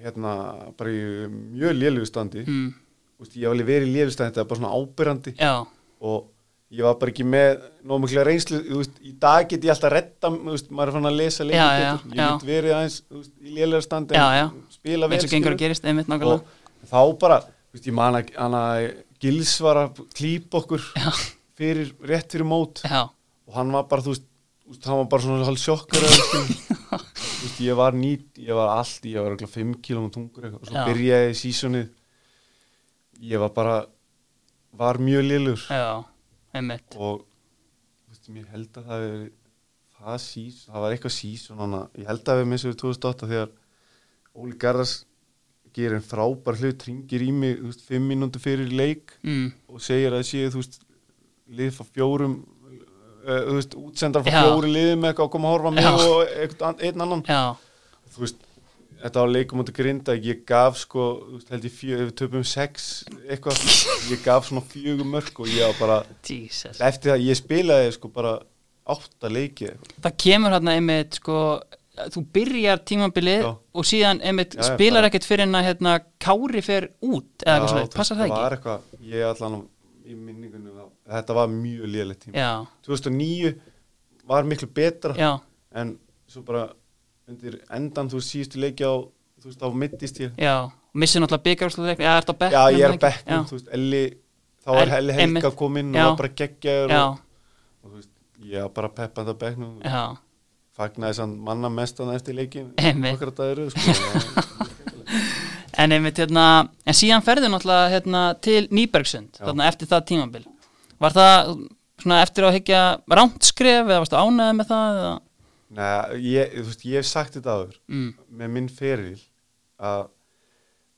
[SPEAKER 2] hérna, bara í mjög lélugu standi mm.
[SPEAKER 1] mm,
[SPEAKER 2] Úst, ég var alveg verið í lélugu standi þetta var bara svona ábyrrandi
[SPEAKER 1] já,
[SPEAKER 2] og ég var bara ekki með nóg mikla reynslu, þú veist, í dag get ég alltaf redda, þú veist, maður er fann að lesa lengi
[SPEAKER 1] Já, já,
[SPEAKER 2] betur,
[SPEAKER 1] já.
[SPEAKER 2] ég get verið aðeins þú veist, í lélugu standi,
[SPEAKER 1] Já, já.
[SPEAKER 2] spila vel
[SPEAKER 1] eins og gengur og
[SPEAKER 2] skilur.
[SPEAKER 1] gerist einmitt nákvæmlega
[SPEAKER 2] og þá bara, þú veist, ég man að hana Gils var að klípa okkur fyrir, rétt fyrir mót
[SPEAKER 1] já,
[SPEAKER 2] og hann var bara, þú veist, þú veist hann var bara svona hálf sjokkar eða eitthvað. þú veist, ég var nýtt, ég var allt ég var eitthvað 5 km tungur eitthvað og svo
[SPEAKER 1] Já.
[SPEAKER 2] byrjaði sísonið ég var bara, var mjög lillur
[SPEAKER 1] já, einmitt
[SPEAKER 2] og þú veist, mér held að það hefur verið- það sís, það var eitthvað síson hana, ég held að við missum við 2008 þegar Óli Garðars gerir en frábær hlut, ringir í mig þú veist, 5 mínúti fyrir leik
[SPEAKER 1] mm,
[SPEAKER 2] og segir að séu þú veist lið frá fjórum uh, þú veist, útsendar frá
[SPEAKER 1] Já.
[SPEAKER 2] fjórum liðum eitthvað að koma að horfa á mig
[SPEAKER 1] Já.
[SPEAKER 2] og eitthvað an- einn annan
[SPEAKER 1] já,
[SPEAKER 2] þú veist, þetta var leikum út að grinda ég gaf sko, þú veist, held ég fjö, ef við töpum sex, eitthvað ég gaf svona fjögum mörg og ég var bara
[SPEAKER 1] Jesus
[SPEAKER 2] eftir það, ég spilaði sko bara átta leiki eitthvað.
[SPEAKER 1] það kemur hérna einmitt sko þú byrjar tímabilið
[SPEAKER 2] Já.
[SPEAKER 1] og síðan einmitt
[SPEAKER 2] Já, já,
[SPEAKER 1] spilar
[SPEAKER 2] bara-
[SPEAKER 1] ekkert fyrir en að hérna, Kári fer út eða eitthvað
[SPEAKER 2] Já,
[SPEAKER 1] svona,
[SPEAKER 2] þú
[SPEAKER 1] passar
[SPEAKER 2] veist,
[SPEAKER 1] það
[SPEAKER 2] var
[SPEAKER 1] ekki?
[SPEAKER 2] eitthvað, ég allan á- í minningunum, að- þetta var mjög lélega tíma
[SPEAKER 1] Já,
[SPEAKER 2] 2009 var miklu betra
[SPEAKER 1] já,
[SPEAKER 2] en svo bara undir endan þú veist, síðustu leiki á þú veist á mittist ég
[SPEAKER 1] já missir náttúrulega byggarúslega eða ert á
[SPEAKER 2] já
[SPEAKER 1] bekknum
[SPEAKER 2] ég er
[SPEAKER 1] ekki?
[SPEAKER 2] að bekknum þú veist Elli þá var
[SPEAKER 1] El-
[SPEAKER 2] Elli
[SPEAKER 1] einmitt.
[SPEAKER 2] Helga kominn
[SPEAKER 1] Já.
[SPEAKER 2] og var bara geggjaður
[SPEAKER 1] já,
[SPEAKER 2] og, og þú veist ég var bara peppand á bekknum
[SPEAKER 1] já, já,
[SPEAKER 2] fagnaði sann manna mestan eftir leikin
[SPEAKER 1] Einmitt.
[SPEAKER 2] okkar að það eru sko
[SPEAKER 1] en einmitt hérna en síðan ferðu náttúrulega hérna til Nýbergsund,
[SPEAKER 2] Já.
[SPEAKER 1] þarna eftir það tímabil var það svona eftir á að higgja rántskref eða varstu ánæðið með það eða?
[SPEAKER 2] Nei, ég, þú veist, ég hef sagt þetta aður
[SPEAKER 1] Mm,
[SPEAKER 2] með minn feril að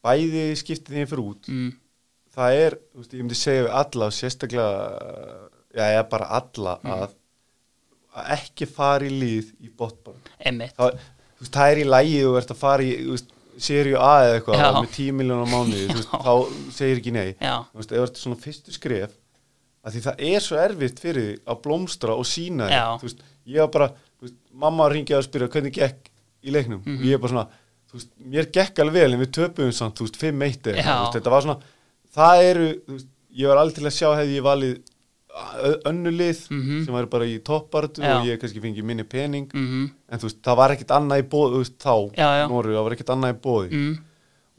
[SPEAKER 2] bæði skiptið því ég fyrir út
[SPEAKER 1] mm,
[SPEAKER 2] það er, þú veist, ég myndi segja við alla og sérstaklega, já, ég bara alla
[SPEAKER 1] Mm.
[SPEAKER 2] að, að ekki fara í lið í botbarn
[SPEAKER 1] einmitt,
[SPEAKER 2] það, þú veist, það er í lægi þú ert að fara í, þú veist, serju A eða eitthvað
[SPEAKER 1] Já.
[SPEAKER 2] með 10 miljónar mánuði, þú veist, þá segir ekki nei
[SPEAKER 1] Já.
[SPEAKER 2] þú veist, ef þetta er svona fyrstu skref að því það er svo erfitt fyrir því að blómstra og sína þér,
[SPEAKER 1] Já.
[SPEAKER 2] þú veist, ég var bara, þú veist, mamma ringið að spyrja hvernig gekk í leiknum
[SPEAKER 1] Mhm.
[SPEAKER 2] og ég er bara svona, þú veist, mér gekk alveg vel en við töpuðum samt, þú veist, 5-1
[SPEAKER 1] Já.
[SPEAKER 2] eða eitthvað, þú veist, þetta var svona, það eru þú veist, ég var aldrei til að sjá hefði ég valið ö- önnur lið
[SPEAKER 1] Mhm.
[SPEAKER 2] sem var bara í toppartu
[SPEAKER 1] Já.
[SPEAKER 2] og ég kannski fengi minni pening
[SPEAKER 1] mhm,
[SPEAKER 2] Mm. en þú veist, það var ekkert annað í bóði þú veist, þá,
[SPEAKER 1] Já, já.
[SPEAKER 2] Norður, það var ekkert annað í bóði
[SPEAKER 1] mm,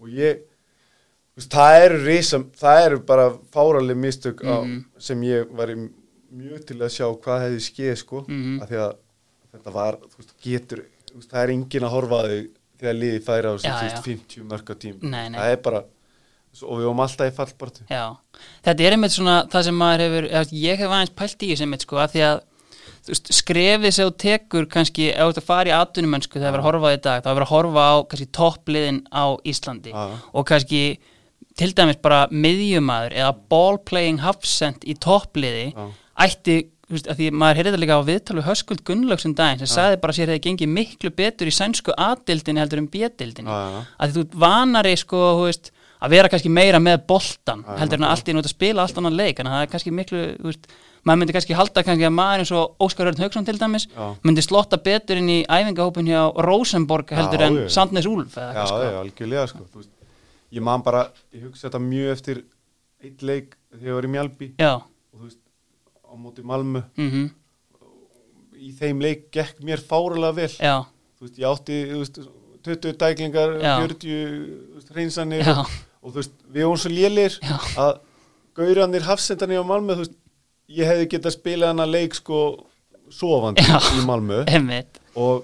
[SPEAKER 2] og ég þú veist, það eru risam, það eru bara fáraleg mistök á,
[SPEAKER 1] Mm-hmm.
[SPEAKER 2] sem ég var í mjög til að sjá hvað hefði skeið sko,
[SPEAKER 1] Mhm.
[SPEAKER 2] af því að þetta var, þú veist, getur þú veist, það er engin að horfa að þau þegar liðið færa á sig,
[SPEAKER 1] Já,
[SPEAKER 2] þú veist,
[SPEAKER 1] já.
[SPEAKER 2] 50 mörg á tím
[SPEAKER 1] Nei, nei.
[SPEAKER 2] það er bara, svo- og við varum alltaf í fallbartu
[SPEAKER 1] Já, þetta er einmitt svona það sem maður hefur, eða ég hef aðeins pælt í þessu einmitt sko, af því að þú veist, skrefið sem þú tekur kannski ef þú ert að fara í atvinnumennsku það er verið að horfa á því í dag það er verið að horfa á kannski toppliðin á Íslandi
[SPEAKER 2] Já.
[SPEAKER 1] og kannski til dæmis bara miðjumæður eða ballplaying hafsend í toppliði
[SPEAKER 2] Já.
[SPEAKER 1] ætti, þú veist, af því maður heyrði þetta líka á viðtalið Höskuld Gunnlaugsson daginn sem sagði bara að sér hefði gengið miklu betur í sænsku atildin heldur en bjöldin
[SPEAKER 2] Já, já.
[SPEAKER 1] að þú ert vanari sko, þú veist, að vera kannski meira með boltan heldur en að allt í nút að spila allt annan leik en það er kannski miklu, þú veist, maður myndi kannski halda kannski að maður eins og Óskar Örn Hauksson til dæmis
[SPEAKER 2] Já.
[SPEAKER 1] myndi slotta betur inn í æfingahópin hjá Rosenborg heldur
[SPEAKER 2] Já,
[SPEAKER 1] en
[SPEAKER 2] já.
[SPEAKER 1] Sandnes Úlf eða
[SPEAKER 2] Já,
[SPEAKER 1] eitthvað sko.
[SPEAKER 2] já, algjörlega sko þú veist, ég man bara, ég hugsa þetta mjög eftir eitt leik þegar ég var í Mjálpi
[SPEAKER 1] Já,
[SPEAKER 2] og þú veist, á móti Malmö
[SPEAKER 1] mhm,
[SPEAKER 2] í þeim leik gekk mér fárulega vel
[SPEAKER 1] já,
[SPEAKER 2] þú veist, ég átti þú veist, 20 dæklingar,
[SPEAKER 1] Já.
[SPEAKER 2] 40 þú veist, hreinsanir
[SPEAKER 1] Já.
[SPEAKER 2] og, og þú veist, við vorum svo lélir
[SPEAKER 1] Já.
[SPEAKER 2] að gauranir hafsendanir á Malmö þú veist, ég hefði getað spilað hana leik sko sofandi
[SPEAKER 1] Já.
[SPEAKER 2] í Malmö
[SPEAKER 1] einmitt
[SPEAKER 2] og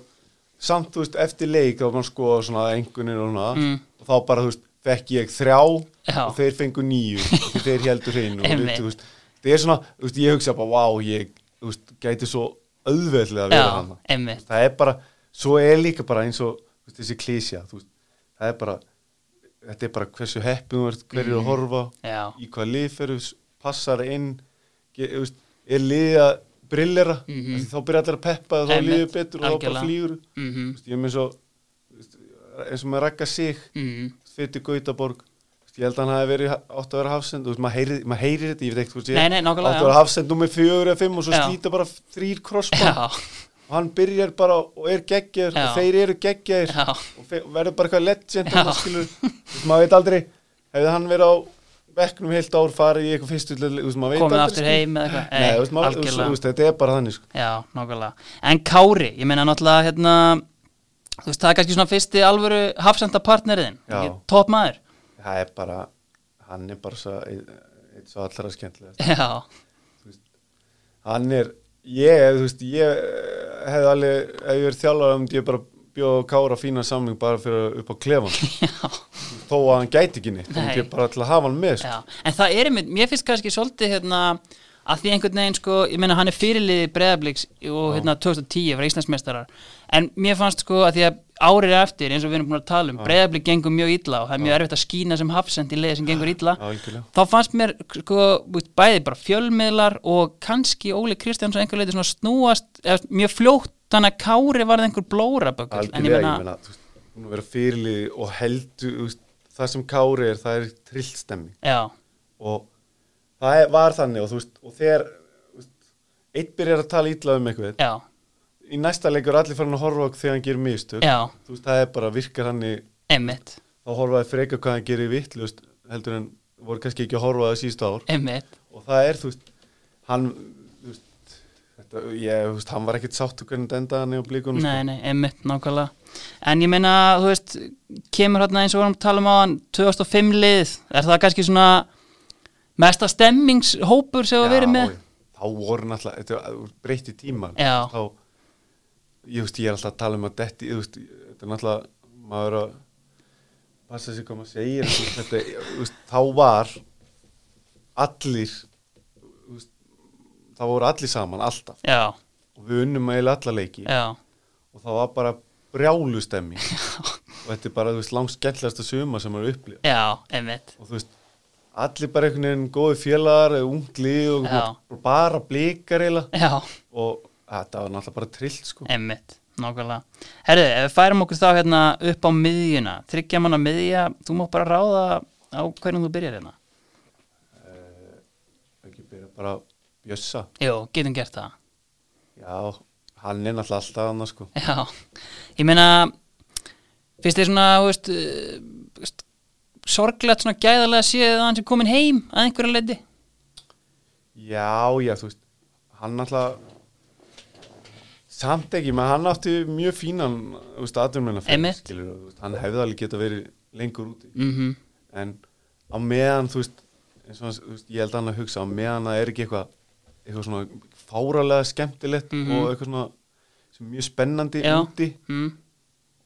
[SPEAKER 2] samt, þú veist, eftir leik þá var mann sko svona engunir og svona
[SPEAKER 1] Mm.
[SPEAKER 2] og þá bara, þú veist, fekk ég þrjá
[SPEAKER 1] Já.
[SPEAKER 2] og þeir fengu nýju og þeir heldur hreinu og
[SPEAKER 1] Einmitt.
[SPEAKER 2] þú veist, það er svona, þú veist, ég hugsa bara, vá, ég, þú veist, gæti svo auðveldlega að vera
[SPEAKER 1] Já,
[SPEAKER 2] hann
[SPEAKER 1] einmitt
[SPEAKER 2] það er bara, svo er líka bara eins og þú veist, þessi klísja, þú veist, það er bara þetta er bara hversu heppið þú ert, hverju mm. að horfa
[SPEAKER 1] Já.
[SPEAKER 2] í hvað lið fyrir, passar inn ge, þú veist, er liðið að brillera, mm -hmm. þá byrja allir að peppa þá er
[SPEAKER 1] Mhm. Einmitt,
[SPEAKER 2] liðið betur og þá bara
[SPEAKER 1] algjörlega.
[SPEAKER 2] flýgur mm.
[SPEAKER 1] mhm,
[SPEAKER 2] veist, ég er með svo þú veist, eins og maður rakka sig
[SPEAKER 1] mhm,
[SPEAKER 2] fyrir Gautaborg Þú veist, ég held að hann hafi verið átt að vera hafsend þú veist, maður heyrir, maður heyrir þetta, ég veit ekkert hvort ég
[SPEAKER 1] Nei, nei, nákvæmlega,
[SPEAKER 2] átt
[SPEAKER 1] já.
[SPEAKER 2] að vera hafsend nummer fjögur eða fimm og svo
[SPEAKER 1] Já.
[SPEAKER 2] slíta bara þrýr krossband
[SPEAKER 1] já,
[SPEAKER 2] og hann byrjar bara og er geggjaður
[SPEAKER 1] Já.
[SPEAKER 2] og þeir eru geggjaður
[SPEAKER 1] Já.
[SPEAKER 2] og fe- verður bara eitthvað legend
[SPEAKER 1] Já.
[SPEAKER 2] og maður skilur, þú veist, maður veit aldrei hefði hann verið á vekknum heilt ár farið í eitthvað fyrstu til- þú veist, maður veit
[SPEAKER 1] komið
[SPEAKER 2] aldrei,
[SPEAKER 1] aftur
[SPEAKER 2] skilur.
[SPEAKER 1] heim eða eitthvað
[SPEAKER 2] Nei, þú veist, maður, þú veist, þú
[SPEAKER 1] algjörlega
[SPEAKER 2] veist, þetta er bara þannig sko.
[SPEAKER 1] Já, nákvæmlega. En Kári, ég meina náttúrulega hérna, þú veist, það er kannski svona fyrsti alvöru hafsendapartneriðin,
[SPEAKER 2] Já.
[SPEAKER 1] topp maður.
[SPEAKER 2] það er bara, hann er bara svo, eitt svo allra skemmtilegast
[SPEAKER 1] Já,
[SPEAKER 2] hann er, ég, þú veist ég eh, hefði alveg, ef ég verið þjálfað um ég bara bjóð Kára fína samling bara fyrir upp á klefan
[SPEAKER 1] já,
[SPEAKER 2] þó að hann gæti ekki neitt, þá
[SPEAKER 1] Nei.
[SPEAKER 2] myndi ég bara til að hafa hann með sko.
[SPEAKER 1] já. En það er einmitt, mér finnst kannski svolítið hérna að því einhvern veginn sko, ég meina hann er fyrirliði breðabliks og hérna 2010 var Íslandsmeistarar. En mér fannst sko að því að árið eftir, eins og við erum búin að tala um, breðablik gengur mjög illa og það er mjög erfitt að skína sem hafsend í leiði sem gengur illa.
[SPEAKER 2] algjörlega
[SPEAKER 1] þá fannst mér sko, búið, bæði bara fjölmiðlar og kannski Óli Kristjánsson einhver leiti svona snúast eða, mjög fljótt þannig að Kári varð einhver blórabökkur en ég meina,
[SPEAKER 2] Algjörlega, ég meina, þú veist, hún er að vera fyrirliði og heldur, þú veist, það sem Kári er, það er trillstemming
[SPEAKER 1] já,
[SPEAKER 2] og það er, var þannig og þú veist, og þegar þú veist, einn byrjar að tala ítla um eitthvað
[SPEAKER 1] já,
[SPEAKER 2] í næsta leikur er allir farin að horfa á þegar hann gerir mistök,
[SPEAKER 1] já
[SPEAKER 2] þú veist, það er bara virkar hann í,
[SPEAKER 1] einmitt,
[SPEAKER 2] þá horfaði freka hvað hann gerir vittlust, heldur en voru kannski ekki að horfa á það síðustu ár
[SPEAKER 1] einmitt
[SPEAKER 2] og það er, þú veist, hann þú veist, þetta, ég, þú veist, hann var ekkit sáttu hvernig þetta endaði hann í sko. á blíkunum
[SPEAKER 1] nei, nei, einmitt, nákvæmlega en ég meina, þú veist, kemur hérna eins og vorum að tala um á hann 2005 lið, er það kannski svona mesta stemmingshópur sem þú verið með
[SPEAKER 2] já. þá voru náttúrulega, þetta breyti tíma
[SPEAKER 1] Já.
[SPEAKER 2] þá, ég veist, ég er alltaf að tala um að detti, ég veist, þetta er náttúrulega maður er að passa sig hvað maður segir, þú veist, þetta ég veist, þá var allir þú veist, þá voru allir saman, alltaf
[SPEAKER 1] já,
[SPEAKER 2] og við unnum eiginlega alla leiki
[SPEAKER 1] já,
[SPEAKER 2] og það var bara brjálustemming og þetta er bara, þú veist, langt skemmtilegasta suma sem maður upplýð
[SPEAKER 1] já, einmitt
[SPEAKER 2] og þú veist allir bara einhvern veginn góði félagar eða ungli og
[SPEAKER 1] Já.
[SPEAKER 2] og bara blíkar eiginlega
[SPEAKER 1] já
[SPEAKER 2] og þetta var náttúrulega bara trillt sko
[SPEAKER 1] Emmitt, nákvæmlega. Herðu, ef við færum okkur þá hérna upp á miðjuna, tryggja manna miðja, þú mátt bara ráða á hvernig þú byrjar hérna.
[SPEAKER 2] ekki byrja bara að bjössa
[SPEAKER 1] Jú, getum gert það.
[SPEAKER 2] já, hann er náttúrulega alltaf annars sko
[SPEAKER 1] Já, ég meina, finnst þér svona, þú veist, eh, þú veist, sorglegt svona gæðarlega séð að hann sem komin heim að einhverja leiti?
[SPEAKER 2] já, já, þú veist hann náttúrulega samt ekki, menn hann átti mjög fínan, þú veist, aðdurmenna
[SPEAKER 1] Einmitt.
[SPEAKER 2] hann hefði alveg geta verið lengur úti
[SPEAKER 1] Mm
[SPEAKER 2] en á meðan þú veist, eins og, hans- þú veist ég held að hann að hugsa á meðan það er ekki eitthvað eitthvað svona fáralega skemmtilegt og eitthvað svona sem er mjög spennandi
[SPEAKER 1] Mhm. Já.
[SPEAKER 2] úti
[SPEAKER 1] mm,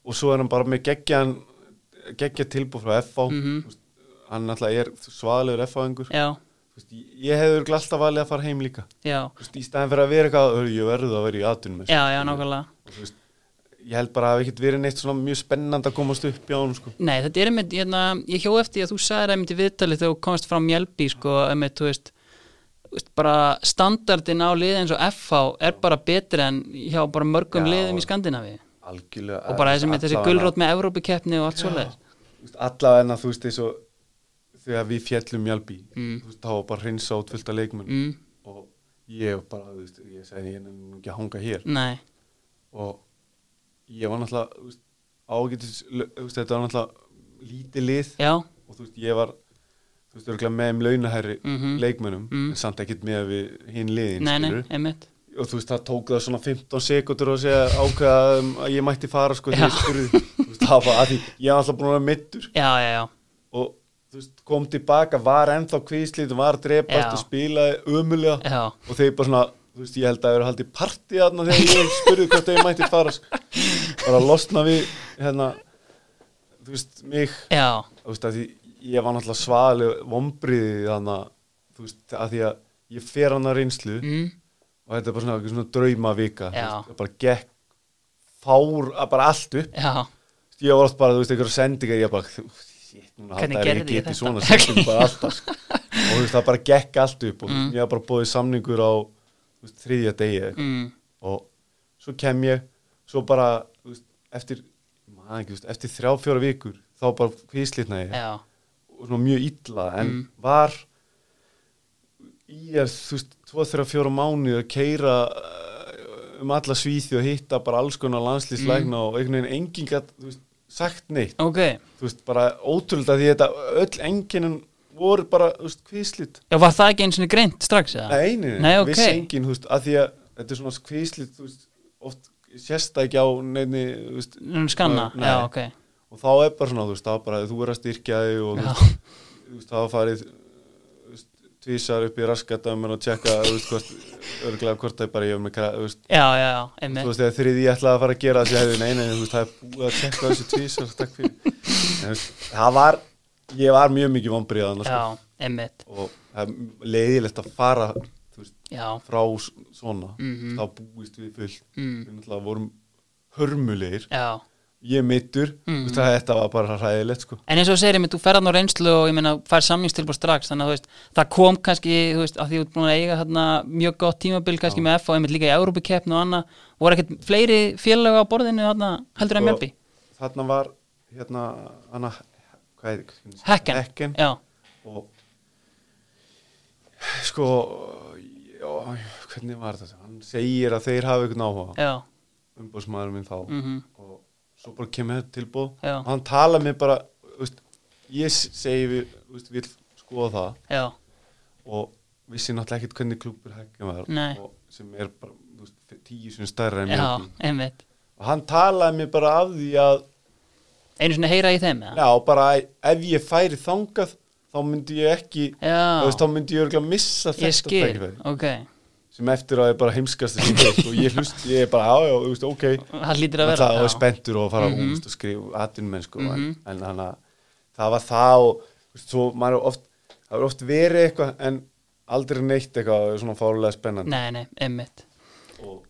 [SPEAKER 2] og svo er hann bara með geggjan geggja tilbúð frá FH mm
[SPEAKER 1] Mhm.
[SPEAKER 2] veist, hann náttúrulega er svaðalegur FH-ingur
[SPEAKER 1] já,
[SPEAKER 2] ég, ég hefði örugglega alltaf valið að fara heim líka
[SPEAKER 1] já,
[SPEAKER 2] Þú veist, í staðan fyrir að vera eitthvað "Ö, ég verður að vera í
[SPEAKER 1] já,
[SPEAKER 2] atunum
[SPEAKER 1] já, nákvæmlega.
[SPEAKER 2] ég held bara að hafi ekkert verið neitt svona mjög spennandi að komast upp í ánum sko.
[SPEAKER 1] Nei, þetta er einmitt, hérna, ég hjó eftir að þú sagði einmitt í viðtalið þegar þú komst frá Mjölby, sko, einmitt, þú veist, þú veist, bara standardin á liði eins og FH er bara betri en hjá bara mörgum
[SPEAKER 2] Já.
[SPEAKER 1] liðum í Skandinavi
[SPEAKER 2] algjörlega
[SPEAKER 1] og bara þessi, með þessi
[SPEAKER 2] allavega-
[SPEAKER 1] gulrót með Evrópikeppni og allt svoleið.
[SPEAKER 2] Þú veist, allavega þú veist eins og þegar við fjallum Mjálbí þú veist, þá var bara hreinsa út fullt af leikmenn
[SPEAKER 1] Mm.
[SPEAKER 2] og ég bara, þú veist, ég segi ég er nú ekki að hanga hér
[SPEAKER 1] Nei,
[SPEAKER 2] og ég var náttúrulega þú veist, ágætis, lau- þú veist, þetta var náttúrulega lítið lið
[SPEAKER 1] já,
[SPEAKER 2] og þú veist, ég var þú veist, örgulega með um launahæri
[SPEAKER 1] Mhm.
[SPEAKER 2] leikmennum,
[SPEAKER 1] Mm.
[SPEAKER 2] en samt ekkit með við hinn liðin,
[SPEAKER 1] nei, nei,
[SPEAKER 2] skilurðu.
[SPEAKER 1] einmitt,
[SPEAKER 2] og þú veist, það tók það svona 15 sekundur og segja ákveða um, að ég mætti fara sko, þegar ég spurði, þú veist, það var að því ég er alltaf búin að vera mittur
[SPEAKER 1] já, já, já,
[SPEAKER 2] og þú veist, kom tilbaka, var ennþá kvíslít, var að
[SPEAKER 1] Já.
[SPEAKER 2] drepast og spilaði ömulega
[SPEAKER 1] já,
[SPEAKER 2] og þeir bara svona, þú veist, ég held að það eru haldið partí þarna þegar ég spurði hvort þau mætti fara sko. bara að losna við hérna, þú veist, mig
[SPEAKER 1] já,
[SPEAKER 2] þú veist, að því ég var náttúrulega svaðaleg vombriði þannig að þú veist, að því að ég fer hann að reynslu
[SPEAKER 1] mm,
[SPEAKER 2] og þetta er bara svona, einhver svona draumavika þú
[SPEAKER 1] Já.
[SPEAKER 2] veist, það bara gekk fár, að bara allt upp
[SPEAKER 1] já,
[SPEAKER 2] Þú veist, ég var oft bara, þú veist, einhverja sendingar ég bara, þú- shit, núna
[SPEAKER 1] Hvernig
[SPEAKER 2] halda þær
[SPEAKER 1] gerði ég
[SPEAKER 2] geti
[SPEAKER 1] þetta?
[SPEAKER 2] svona sendingar bara alltaf sko. og þú veist, það bara gekk allt upp og ég var bara bóðið samningur á þú veist, þriðja degi eða eitthvað.
[SPEAKER 1] Mm. mm,
[SPEAKER 2] og svo kem ég svo bara, þú veist, eftir maður ekki, þú veist, eftir þrjá, fjóra vikur þá bara hvíslitna ég
[SPEAKER 1] já,
[SPEAKER 2] og svona mjög illa en
[SPEAKER 1] Mm.
[SPEAKER 2] var í að þú veist, tvo, þrjá, fjóra mánu að keira um alla svíði og hitta bara alls konar
[SPEAKER 1] Mm.
[SPEAKER 2] landslýslækna og einhvern veginn enginn gat þú veist, sagt neitt
[SPEAKER 1] ok,
[SPEAKER 2] þú veist, bara ótrúlega því þetta öll enginn voru bara, þú veist, kvíslit
[SPEAKER 1] já var það ekki eins og greint strax eða?
[SPEAKER 2] Nei, nei,
[SPEAKER 1] Ah. Nei, ok.
[SPEAKER 2] vissi enginn, þú veist, að því að þetta er svona kvíslit, þú veist, oft sérst það ekki á neinni, þú veist,
[SPEAKER 1] Mm, skanna,
[SPEAKER 2] Nei.
[SPEAKER 1] já ok
[SPEAKER 2] og þá er bara svona, þú veist, þá bara þú er að styrkja þig og þú
[SPEAKER 1] já.
[SPEAKER 2] veist, þú veist, þá farið þú veist, tvísar upp í raskatamur og tjekka, þú veist, hvort, örglega hvort það er bara ég er með, kra- þú veist,
[SPEAKER 1] já, já, já,
[SPEAKER 2] þú
[SPEAKER 1] einmitt
[SPEAKER 2] veist, þegar þriði ég ætlaði að fara að gera þessi hefði, nei, nei, þú veist, það er búið að tjekka þessi tvísar, takk fyrir, en, þú veist, það var, ég var mjög mikið vombriðan, sko,
[SPEAKER 1] já, einmitt,
[SPEAKER 2] og það er leiðilegt að fara, þú veist,
[SPEAKER 1] já,
[SPEAKER 2] frá s- svona
[SPEAKER 1] Mhm.
[SPEAKER 2] þá búist við fullt
[SPEAKER 1] Mm.
[SPEAKER 2] við náttúrulega vorum hörmulegir
[SPEAKER 1] já
[SPEAKER 2] ég mittur, mm -hmm. þetta var bara ræðilegt sko.
[SPEAKER 1] En eins og þú segir, einmitt, þú ferðan á reynslu og ég meina, fær samlingstilbúr strax, þannig að þú veist, það kom kannski, þú veist, að því þú ert búin að eiga hérna, mjög gott tímabil kannski með F og einmitt líka í Európa-keppn og annað, voru ekkert fleiri félaga á borðinu hérna, heldur en
[SPEAKER 2] Sko,
[SPEAKER 1] Mjöbbi?
[SPEAKER 2] þarna var hérna hana, hvað er
[SPEAKER 1] Hekken.
[SPEAKER 2] Hekken
[SPEAKER 1] Já,
[SPEAKER 2] og sko já, hvernig var þetta hann segir að þeir hafi einhvern áhuga
[SPEAKER 1] já,
[SPEAKER 2] umbúrsmaður minn þá
[SPEAKER 1] Mhm.
[SPEAKER 2] og svo bara kemur þetta tilbúð
[SPEAKER 1] Já.
[SPEAKER 2] og hann tala mér bara þú veist, ég s- segi við, þú veist, við skoða það
[SPEAKER 1] já,
[SPEAKER 2] og vissi náttúrulega ekkert hvernig klúpur Hekken var
[SPEAKER 1] Nei.
[SPEAKER 2] og sem er bara þú veist, tíu sem stærra en
[SPEAKER 1] já,
[SPEAKER 2] mjög
[SPEAKER 1] einmitt.
[SPEAKER 2] og hann talaði mér bara af því að
[SPEAKER 1] Einu svona heyra í þeim, eða?
[SPEAKER 2] já, bara að ef ég færi þangað þá myndi ég ekki þú veist,
[SPEAKER 1] Já,
[SPEAKER 2] þá myndi ég örgulega missa
[SPEAKER 1] ég
[SPEAKER 2] þetta
[SPEAKER 1] skil,
[SPEAKER 2] tækifæri
[SPEAKER 1] ok,
[SPEAKER 2] sem eftir á er bara heimskast og ég hlust, ég er bara, já, já, þú veist, ok
[SPEAKER 1] það lítur að
[SPEAKER 2] það
[SPEAKER 1] vera.
[SPEAKER 2] var
[SPEAKER 1] já. Mhm.
[SPEAKER 2] spenntur og að fara mm -hmm. og skrifa atvinnmenn sko, en, en hann að það var það og þú veist, svo maður er oft, það er oft verið eitthvað en aldrei neitt eitthvað svona fárulega spennandi
[SPEAKER 1] Nei, nei, einmitt.
[SPEAKER 2] og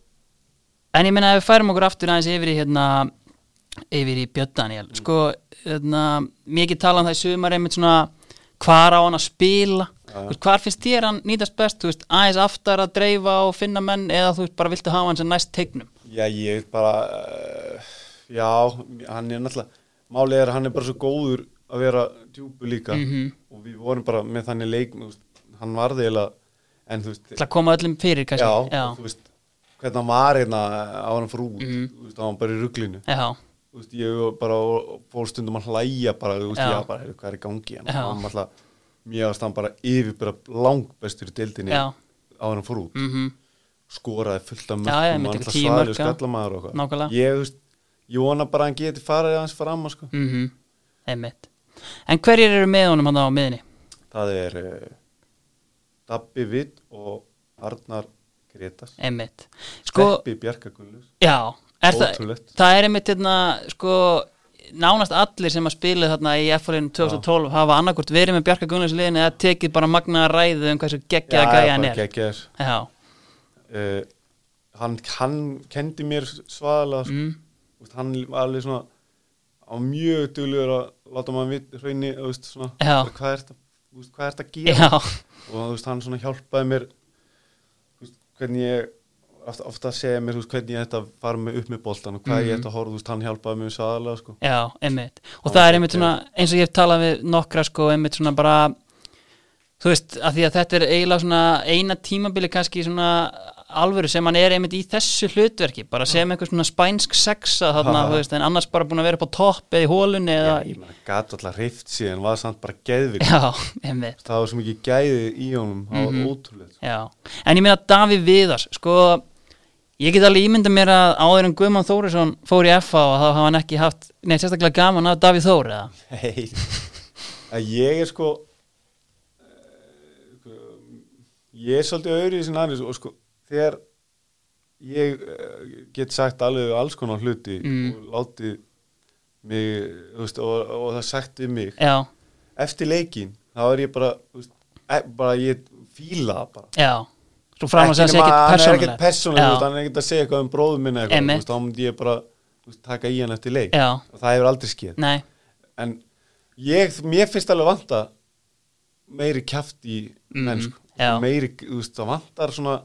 [SPEAKER 1] En ég meina að við færum okkur aftur aðeins yfir í hérna yfir í Björn Daniel
[SPEAKER 2] Mm.
[SPEAKER 1] sko, hérna, mikið tala um það í sumar einmitt svona hvar á hann að spila Þú
[SPEAKER 2] Já.
[SPEAKER 1] veist, hvar finnst þér hann nýtast best þú veist, aðeins aftar að dreifa og finna menn eða þú veist, bara viltu hafa hann sem næst teiknum
[SPEAKER 2] Já, ég bara uh, Já, hann er náttúrulega Málið er að hann er bara svo góður að vera djúpu líka
[SPEAKER 1] Mhm.
[SPEAKER 2] og við vorum bara með þannig leik þú veist, hann var eiginlega en þú veist,
[SPEAKER 1] til að koma öllum fyrir kannski
[SPEAKER 2] já, og þú
[SPEAKER 1] já,
[SPEAKER 2] veist hvernig hann var hérna á hann frú mm
[SPEAKER 1] Mhm.
[SPEAKER 2] þú veist, hann var bara í ruglinu
[SPEAKER 1] já,
[SPEAKER 2] þú veist, ég var bara fór stundum að hlæja bara, þú veist,
[SPEAKER 1] Já.
[SPEAKER 2] já, bara, heyrðu, hvað er í gangi en
[SPEAKER 1] Já.
[SPEAKER 2] hann alltaf, mér varst hann bara yfir bara langbestur í deildinni
[SPEAKER 1] Já.
[SPEAKER 2] á hann frú
[SPEAKER 1] mhm,
[SPEAKER 2] skoraði fullt af
[SPEAKER 1] Já, já,
[SPEAKER 2] mörgum
[SPEAKER 1] myndi
[SPEAKER 2] og
[SPEAKER 1] ekki
[SPEAKER 2] alltaf
[SPEAKER 1] tíu
[SPEAKER 2] svalur
[SPEAKER 1] mörk, já.
[SPEAKER 2] skallamæður og
[SPEAKER 1] Nákvæmlega.
[SPEAKER 2] eitthvað ég, þú veist, ég vona bara að hann geti farið aðeins fram sko.
[SPEAKER 1] mhm, einmitt En hverjir eru með honum hann á miðinni?
[SPEAKER 2] það er uh, Dabbi Vitt og Arnar Gretas
[SPEAKER 1] Einmitt Sko,
[SPEAKER 2] Steppi Bjarka Gullus
[SPEAKER 1] Já, er það,
[SPEAKER 2] Ótrúlegt.
[SPEAKER 1] það er einmitt hérna, sko, nánast allir sem að spila þarna í F-fólinu 2012 hafa annarkvort verið með Bjarka Gunnars liðin eða tekið bara magna ræðu um hversu geggjaða gæja hann er
[SPEAKER 2] geggjær
[SPEAKER 1] Já,
[SPEAKER 2] uh, hann, hann kendi mér svaðalega sko.
[SPEAKER 1] Mm.
[SPEAKER 2] Þú veist, hann var alveg svona á mjög duglegur að láta maður vit- hraunni þú veist, svona,
[SPEAKER 1] Já.
[SPEAKER 2] bara, hvað er þetta hvað er þetta að gera
[SPEAKER 1] já,
[SPEAKER 2] og þú veist, hann svona hjálpaði mér þú veist, hvernig ég ofta, ofta segja mér, þú veist, hvernig ég ætti að fara með upp með boltan og hvað ég ætti að horfa, þú veist, hann hjálpaði mér svo aðalega, sko.
[SPEAKER 1] já, einmitt Og það er einmitt svona, eins og ég hef talað við nokkra, sko, einmitt svona bara Þú veist, að því að þetta er eiginlega svona eina tímabili kannski svona alvöru sem hann er einmitt í þessu hlutverki bara sem einhver svona spænsk sexa þarna,
[SPEAKER 2] Ha.
[SPEAKER 1] þú veist, en annars bara búin að vera upp á topp eða í hólunni
[SPEAKER 2] Já,
[SPEAKER 1] eða
[SPEAKER 2] ég meina, gat alltaf hreift síðan, var samt bara geðvik,
[SPEAKER 1] Já, einmitt
[SPEAKER 2] það var svo mikið gæði í honum, það var ótrúlega, sko.
[SPEAKER 1] Já, en ég meina Davíð Viðars sko, ég get alveg ímynda mér að áður en Guðmann Þórisson fór í FH og þá hafa hann ekki haft, nei, sérstaklega gaman af Davíð Þór eða,
[SPEAKER 2] Hei, að ég er sko, eh, sko, ég er svolítið öðru í sinna aðeins og sko, þegar ég eh, get sagt alveg alls konar hluti
[SPEAKER 1] Mm.
[SPEAKER 2] og látið mig, þú veist, og, og það sagt við mig,
[SPEAKER 1] já,
[SPEAKER 2] eftir leikin þá er ég bara, þú veist, e- bara ég fíla það bara
[SPEAKER 1] já svo fram að segja
[SPEAKER 2] nema
[SPEAKER 1] sér ekkert
[SPEAKER 2] að hann er
[SPEAKER 1] persónulega
[SPEAKER 2] ekkert persónulega, þú veist,
[SPEAKER 1] já,
[SPEAKER 2] hann er ekkert að segja eitthvað um bróðum minna eitthvað,
[SPEAKER 1] Einmitt.
[SPEAKER 2] þú veist, þá myndi ég bara þú veist, taka í hann eftir leik
[SPEAKER 1] Já.
[SPEAKER 2] og það hefur aldrei skeið
[SPEAKER 1] nei,
[SPEAKER 2] en ég, mér finnst alveg vanta meiri kjaft í
[SPEAKER 1] Mm,
[SPEAKER 2] mennsku
[SPEAKER 1] já.
[SPEAKER 2] meiri, þú veist, það vantar svona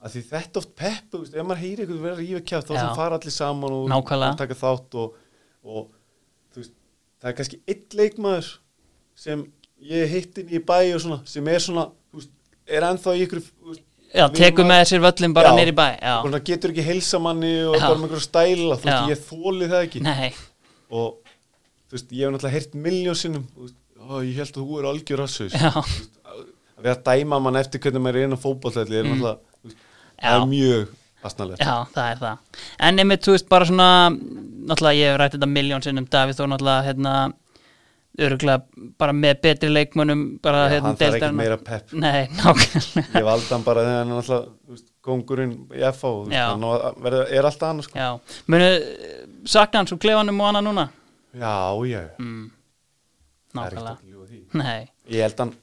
[SPEAKER 2] að því þetta oft peppu, þú veist, ef maður heyri eitthvað verið að rífa kjaft, þá
[SPEAKER 1] Já.
[SPEAKER 2] sem fara allir saman og
[SPEAKER 1] Nákvæmlega.
[SPEAKER 2] og taka þátt og, og þú veist, það er kannski einn leikmaður sem ég hittin í bæ og svona, sem er svona, þú veist, er ennþá í ykkur, þú veist,
[SPEAKER 1] já,
[SPEAKER 2] við
[SPEAKER 1] tekur
[SPEAKER 2] maður-
[SPEAKER 1] með sér völlin bara
[SPEAKER 2] Já.
[SPEAKER 1] nýri bæ
[SPEAKER 2] og
[SPEAKER 1] já,
[SPEAKER 2] svona getur ekki heilsa manni og
[SPEAKER 1] Já.
[SPEAKER 2] bara með einhverju stæla þú veist,
[SPEAKER 1] Já.
[SPEAKER 2] ég þóli það ekki
[SPEAKER 1] nei,
[SPEAKER 2] og þú veist, ég hef náttúrulega heyrt miljónsinnum og ég held að þú er algjör rassus
[SPEAKER 1] já,
[SPEAKER 2] að vera að dæma mann eftir hvernig maður er inn á fótballtæli er náttúrulega, þú veist,
[SPEAKER 1] Mm.
[SPEAKER 2] það
[SPEAKER 1] Já.
[SPEAKER 2] er mjög astnalegt
[SPEAKER 1] já, það er það en einmitt, þú veist, bara svona náttúrulega, ég hef rætt þetta miljón sinnum Davíð Þór náttúrulega, hérna öruglega bara með betri leikmönnum bara,
[SPEAKER 2] Já,
[SPEAKER 1] hérna,
[SPEAKER 2] hann þarf ekkert
[SPEAKER 1] deildarinnar.
[SPEAKER 2] meira pep.
[SPEAKER 1] nei, nákvæmlega
[SPEAKER 2] ég valdi hann bara þegar hann er náttúrulega þú veist, kongurinn í FH þú veist,
[SPEAKER 1] Já.
[SPEAKER 2] hann á að verða- er alltaf annars sko.
[SPEAKER 1] já, munu sakna hans úr klefanum og annað núna
[SPEAKER 2] já, já,
[SPEAKER 1] mm,
[SPEAKER 2] það er ekkert
[SPEAKER 1] nákvæmlega,
[SPEAKER 2] að ljúga því
[SPEAKER 1] nei
[SPEAKER 2] ég held hann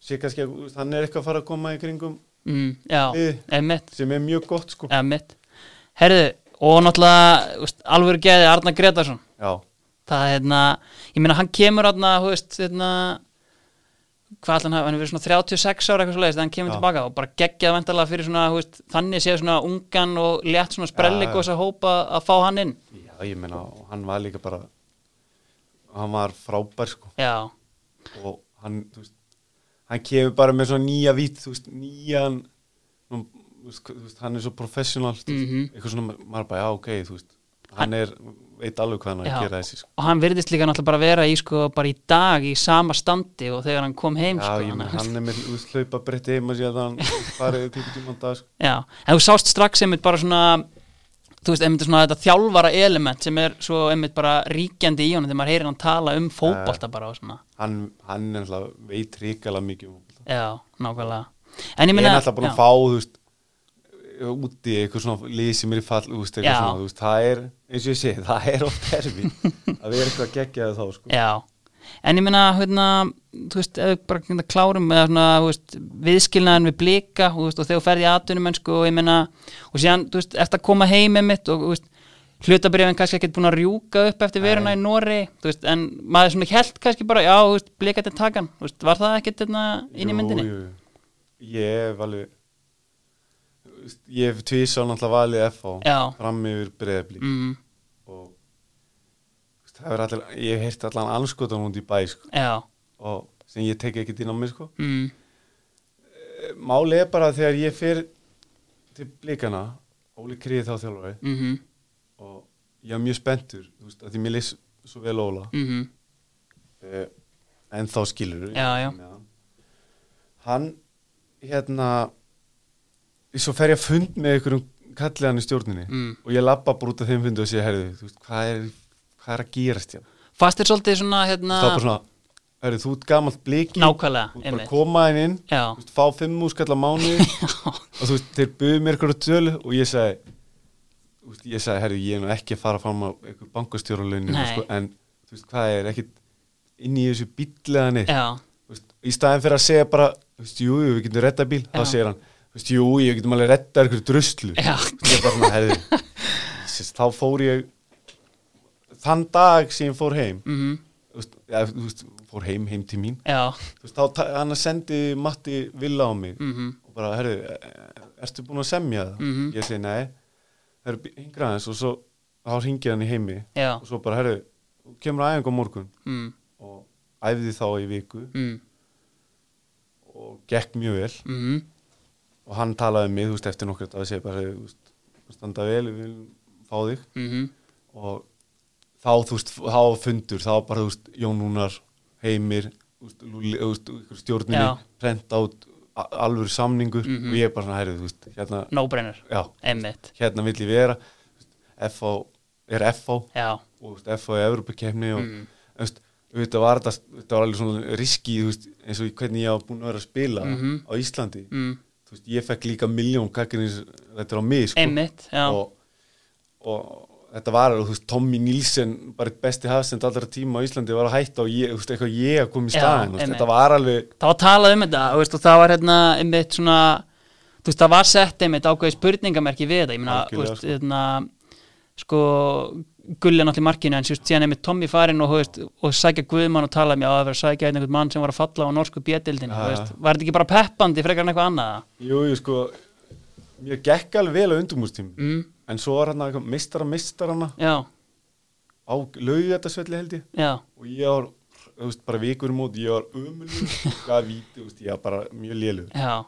[SPEAKER 2] sé kannski að þú veist, hann er eitthvað að fara að koma í kringum
[SPEAKER 1] mm, já,
[SPEAKER 2] Liðið.
[SPEAKER 1] einmitt
[SPEAKER 2] sem er mjög gott sko
[SPEAKER 1] eða mitt Herðu, og náttúrulega úst, alvöru geði Arna Gretarsson
[SPEAKER 2] já,
[SPEAKER 1] það er hérna, ég meina hann kemur hérna, hú veist, hérna hvað allan hafa, hann er verið svona 36 ára eitthvað svoleiðis, þegar hann kemur
[SPEAKER 2] Já.
[SPEAKER 1] tilbaka og bara geggjað vantarlega fyrir svona, hú veist, þannig séð svona ungan og létt svona sprellik og þess að hópa að fá hann inn,
[SPEAKER 2] já, ég meina og hann var líka bara hann var frábær sko
[SPEAKER 1] já
[SPEAKER 2] og hann, þú veist, hann kemur bara með svona nýja vít, þú veist, nýjan nú, þú veist, þú veist, hann er svo professional, þú veist,
[SPEAKER 1] Mhm.
[SPEAKER 2] eitthvað svona ma- maður bara, já, ok, þú veist, hann er veit alveg hvað hann er
[SPEAKER 1] Já.
[SPEAKER 2] að gera þessi, sko
[SPEAKER 1] og hann virðist líka náttúrulega bara vera í sko, bara í dag í sama standi og þegar hann kom heim
[SPEAKER 2] já,
[SPEAKER 1] sko,
[SPEAKER 2] ég menn,
[SPEAKER 1] hann,
[SPEAKER 2] hann er með úthlaupa breytti heima síðan hann farið klukkutíman dag, sko
[SPEAKER 1] Já, en þú sást strax einmitt bara svona þú veist, einmitt svona þetta þjálfara element sem er svo einmitt bara ríkjandi í honum þegar maður heyrir hann tala um fótbolta bara og svona,
[SPEAKER 2] hann, hann er alltaf veit ríkala mikið um fótbolta.
[SPEAKER 1] já, nákvæmlega en ég
[SPEAKER 2] ég
[SPEAKER 1] meina,
[SPEAKER 2] er alltaf búin
[SPEAKER 1] já,
[SPEAKER 2] að fá, þú veist úti, eitthvað svona lýsi mér í fall, þú veist, eitthvað
[SPEAKER 1] Já.
[SPEAKER 2] svona, þú veist, það er eins og ég segi, það er oft erfið að vera eitthvað geggjaði þá, sko
[SPEAKER 1] já, en ég meina hérna, þú veist, ef við bara hérna klárum eða svona, þú veist, viðskilnaðan við blika, þú veist, og þegar þú ferð í atvinnumennsku og ég meina, og síðan, þú veist, eftir að koma heim einmitt og, þú veist, hlutabrifin kannski ekkert búin að rjúka upp eftir veruna í Nóri, þú veist, en maður svona held kannski bara, já, þú veist, blika til takan, þú veist, var það ekkert hérna inn í myndinni?
[SPEAKER 2] Jú, jú. Ég hef alveg þú veist, ég hef tvísa náttúrulega valið FH
[SPEAKER 1] Já.
[SPEAKER 2] fram yfir breyðablík
[SPEAKER 1] mm,
[SPEAKER 2] og þú veist, það er allir, ég hef heyrt allan anskotan út í bæ sko,
[SPEAKER 1] já,
[SPEAKER 2] og sem ég tek ekki inn á mig sko.
[SPEAKER 1] mm,
[SPEAKER 2] Máli er bara að þegar ég fer til blíkana Óli Kríði þá þjálfari
[SPEAKER 1] mm -hmm,
[SPEAKER 2] og ég er mjög spenntur þú veist, að því mér leys svo vel Óla
[SPEAKER 1] mm
[SPEAKER 2] uh, en þá skilur
[SPEAKER 1] Já, já.
[SPEAKER 2] hann hérna svo fer ég að fund með ykkur um kalliðan í stjórninni
[SPEAKER 1] Mm.
[SPEAKER 2] og ég labba bara út af þeim fundu og sé herðu, þú veist, hvað er, hvað er að gerast hérna?
[SPEAKER 1] Fast er svolítið svona
[SPEAKER 2] þá
[SPEAKER 1] hérna,
[SPEAKER 2] bara svona, herðu, þú ert gamalt bliki
[SPEAKER 1] nákvæmlega
[SPEAKER 2] þú ert bara
[SPEAKER 1] einmitt.
[SPEAKER 2] að koma henn inn
[SPEAKER 1] Já,
[SPEAKER 2] þú veist, fá fimm úskalla mánu og þú veist, þeir buðu mér ykkur tölu og ég sagði þú veist, ég sagði, herri, ég er nú ekki að fara fram á ykkur bankastjóralunni
[SPEAKER 1] Nei.
[SPEAKER 2] sko, en þú veist, hvað er ekkit inn í þessu bíllega neitt
[SPEAKER 1] já,
[SPEAKER 2] Þú veist, í staðin fyrir að segja bara þú veist, jú, jú, við getum retta bíl,
[SPEAKER 1] Já.
[SPEAKER 2] þá segir hann þú veist, jú, ég getum alveg retta ykkur druslu
[SPEAKER 1] já
[SPEAKER 2] ég er bara svona, herri sérst, þá fór ég þann dag sem ég fór heim
[SPEAKER 1] mm
[SPEAKER 2] þú veist, ja, þú veist, fór heim, heim til mín
[SPEAKER 1] Já,
[SPEAKER 2] þú veist, þá ta- hann sendi Matti Villa á mig
[SPEAKER 1] mm
[SPEAKER 2] og bara, herru, e- ertu búin að semja það?
[SPEAKER 1] Mhm.
[SPEAKER 2] Ég segi, nei, herru, hingra aðeins og svo, þá hringið hann í heimi
[SPEAKER 1] já
[SPEAKER 2] og svo bara, herru, þú kemur aðeins á morgun
[SPEAKER 1] mm,
[SPEAKER 2] og æfði þá í viku
[SPEAKER 1] mm,
[SPEAKER 2] og gekk mjög vel
[SPEAKER 1] mm,
[SPEAKER 2] og hann talaði um mig, þú veist, eftir nokkur að segja bara, heyrðu, þú veist, standa vel, við viljum fá þig
[SPEAKER 1] mm,
[SPEAKER 2] og þá, þú veist, þá var fundur, þá bara, þú veist, Jón Núnar, Heimir, þú veist, Lúli, þú veist, ykkur stjórninni,
[SPEAKER 1] Já.
[SPEAKER 2] prent át a- alvöru samningur og ég bara svona, herru, þú veist, hérna,
[SPEAKER 1] no brainer
[SPEAKER 2] já,
[SPEAKER 1] einmitt,
[SPEAKER 2] hérna vill ég vera FH er FH
[SPEAKER 1] já
[SPEAKER 2] og þú veist, FH er Evropakefni og
[SPEAKER 1] Mm.
[SPEAKER 2] þú veist, þetta var þetta þetta var alveg svona riski þú veist, eins og í hvernig ég á búin að vera að spila
[SPEAKER 1] Mhm.
[SPEAKER 2] á Íslandi
[SPEAKER 1] mm,
[SPEAKER 2] Þú veist, ég fekk líka miljón kakkinins þetta á mig sko.
[SPEAKER 1] einmitt, já
[SPEAKER 2] og, og þetta var alveg, þú veist, Tommy Nilsen bara eitt besti hafsend allra tíma á Íslandi var að hætta og ég, þú veist, eitthvað ég að koma í
[SPEAKER 1] Já,
[SPEAKER 2] staðin þú veist,
[SPEAKER 1] einmitt.
[SPEAKER 2] þetta var alveg
[SPEAKER 1] það var talað um þetta þú veist, og það var hérna einmitt svona þú veist, það var sett einmitt ákveði spurningamerki við þetta, ég meina, þú
[SPEAKER 2] Algjörlega,
[SPEAKER 1] veist, hérna sko, gulli náttúrulega í markinu en sérst síðan einmitt Tommy farinn og, þú veist, og sækja Guðmann og tala um, já, það var að sækja einhvern mann sem var að falla á norsku bjöldildinu,
[SPEAKER 2] Ja.
[SPEAKER 1] þú veist, var þetta ekki bara peppandi frekar en eitthvað annað?
[SPEAKER 2] jú, jú, sko, mér gekk alveg vel á undumúrstími
[SPEAKER 1] Mm,
[SPEAKER 2] en svo var hann eitthvað mistara mistarana
[SPEAKER 1] já,
[SPEAKER 2] á laugu þetta svelli held ég
[SPEAKER 1] já,
[SPEAKER 2] og ég var, þú veist, bara vikur í mót ég var ömulur, gaf víti, þú veist, ég var bara mjög lélur
[SPEAKER 1] já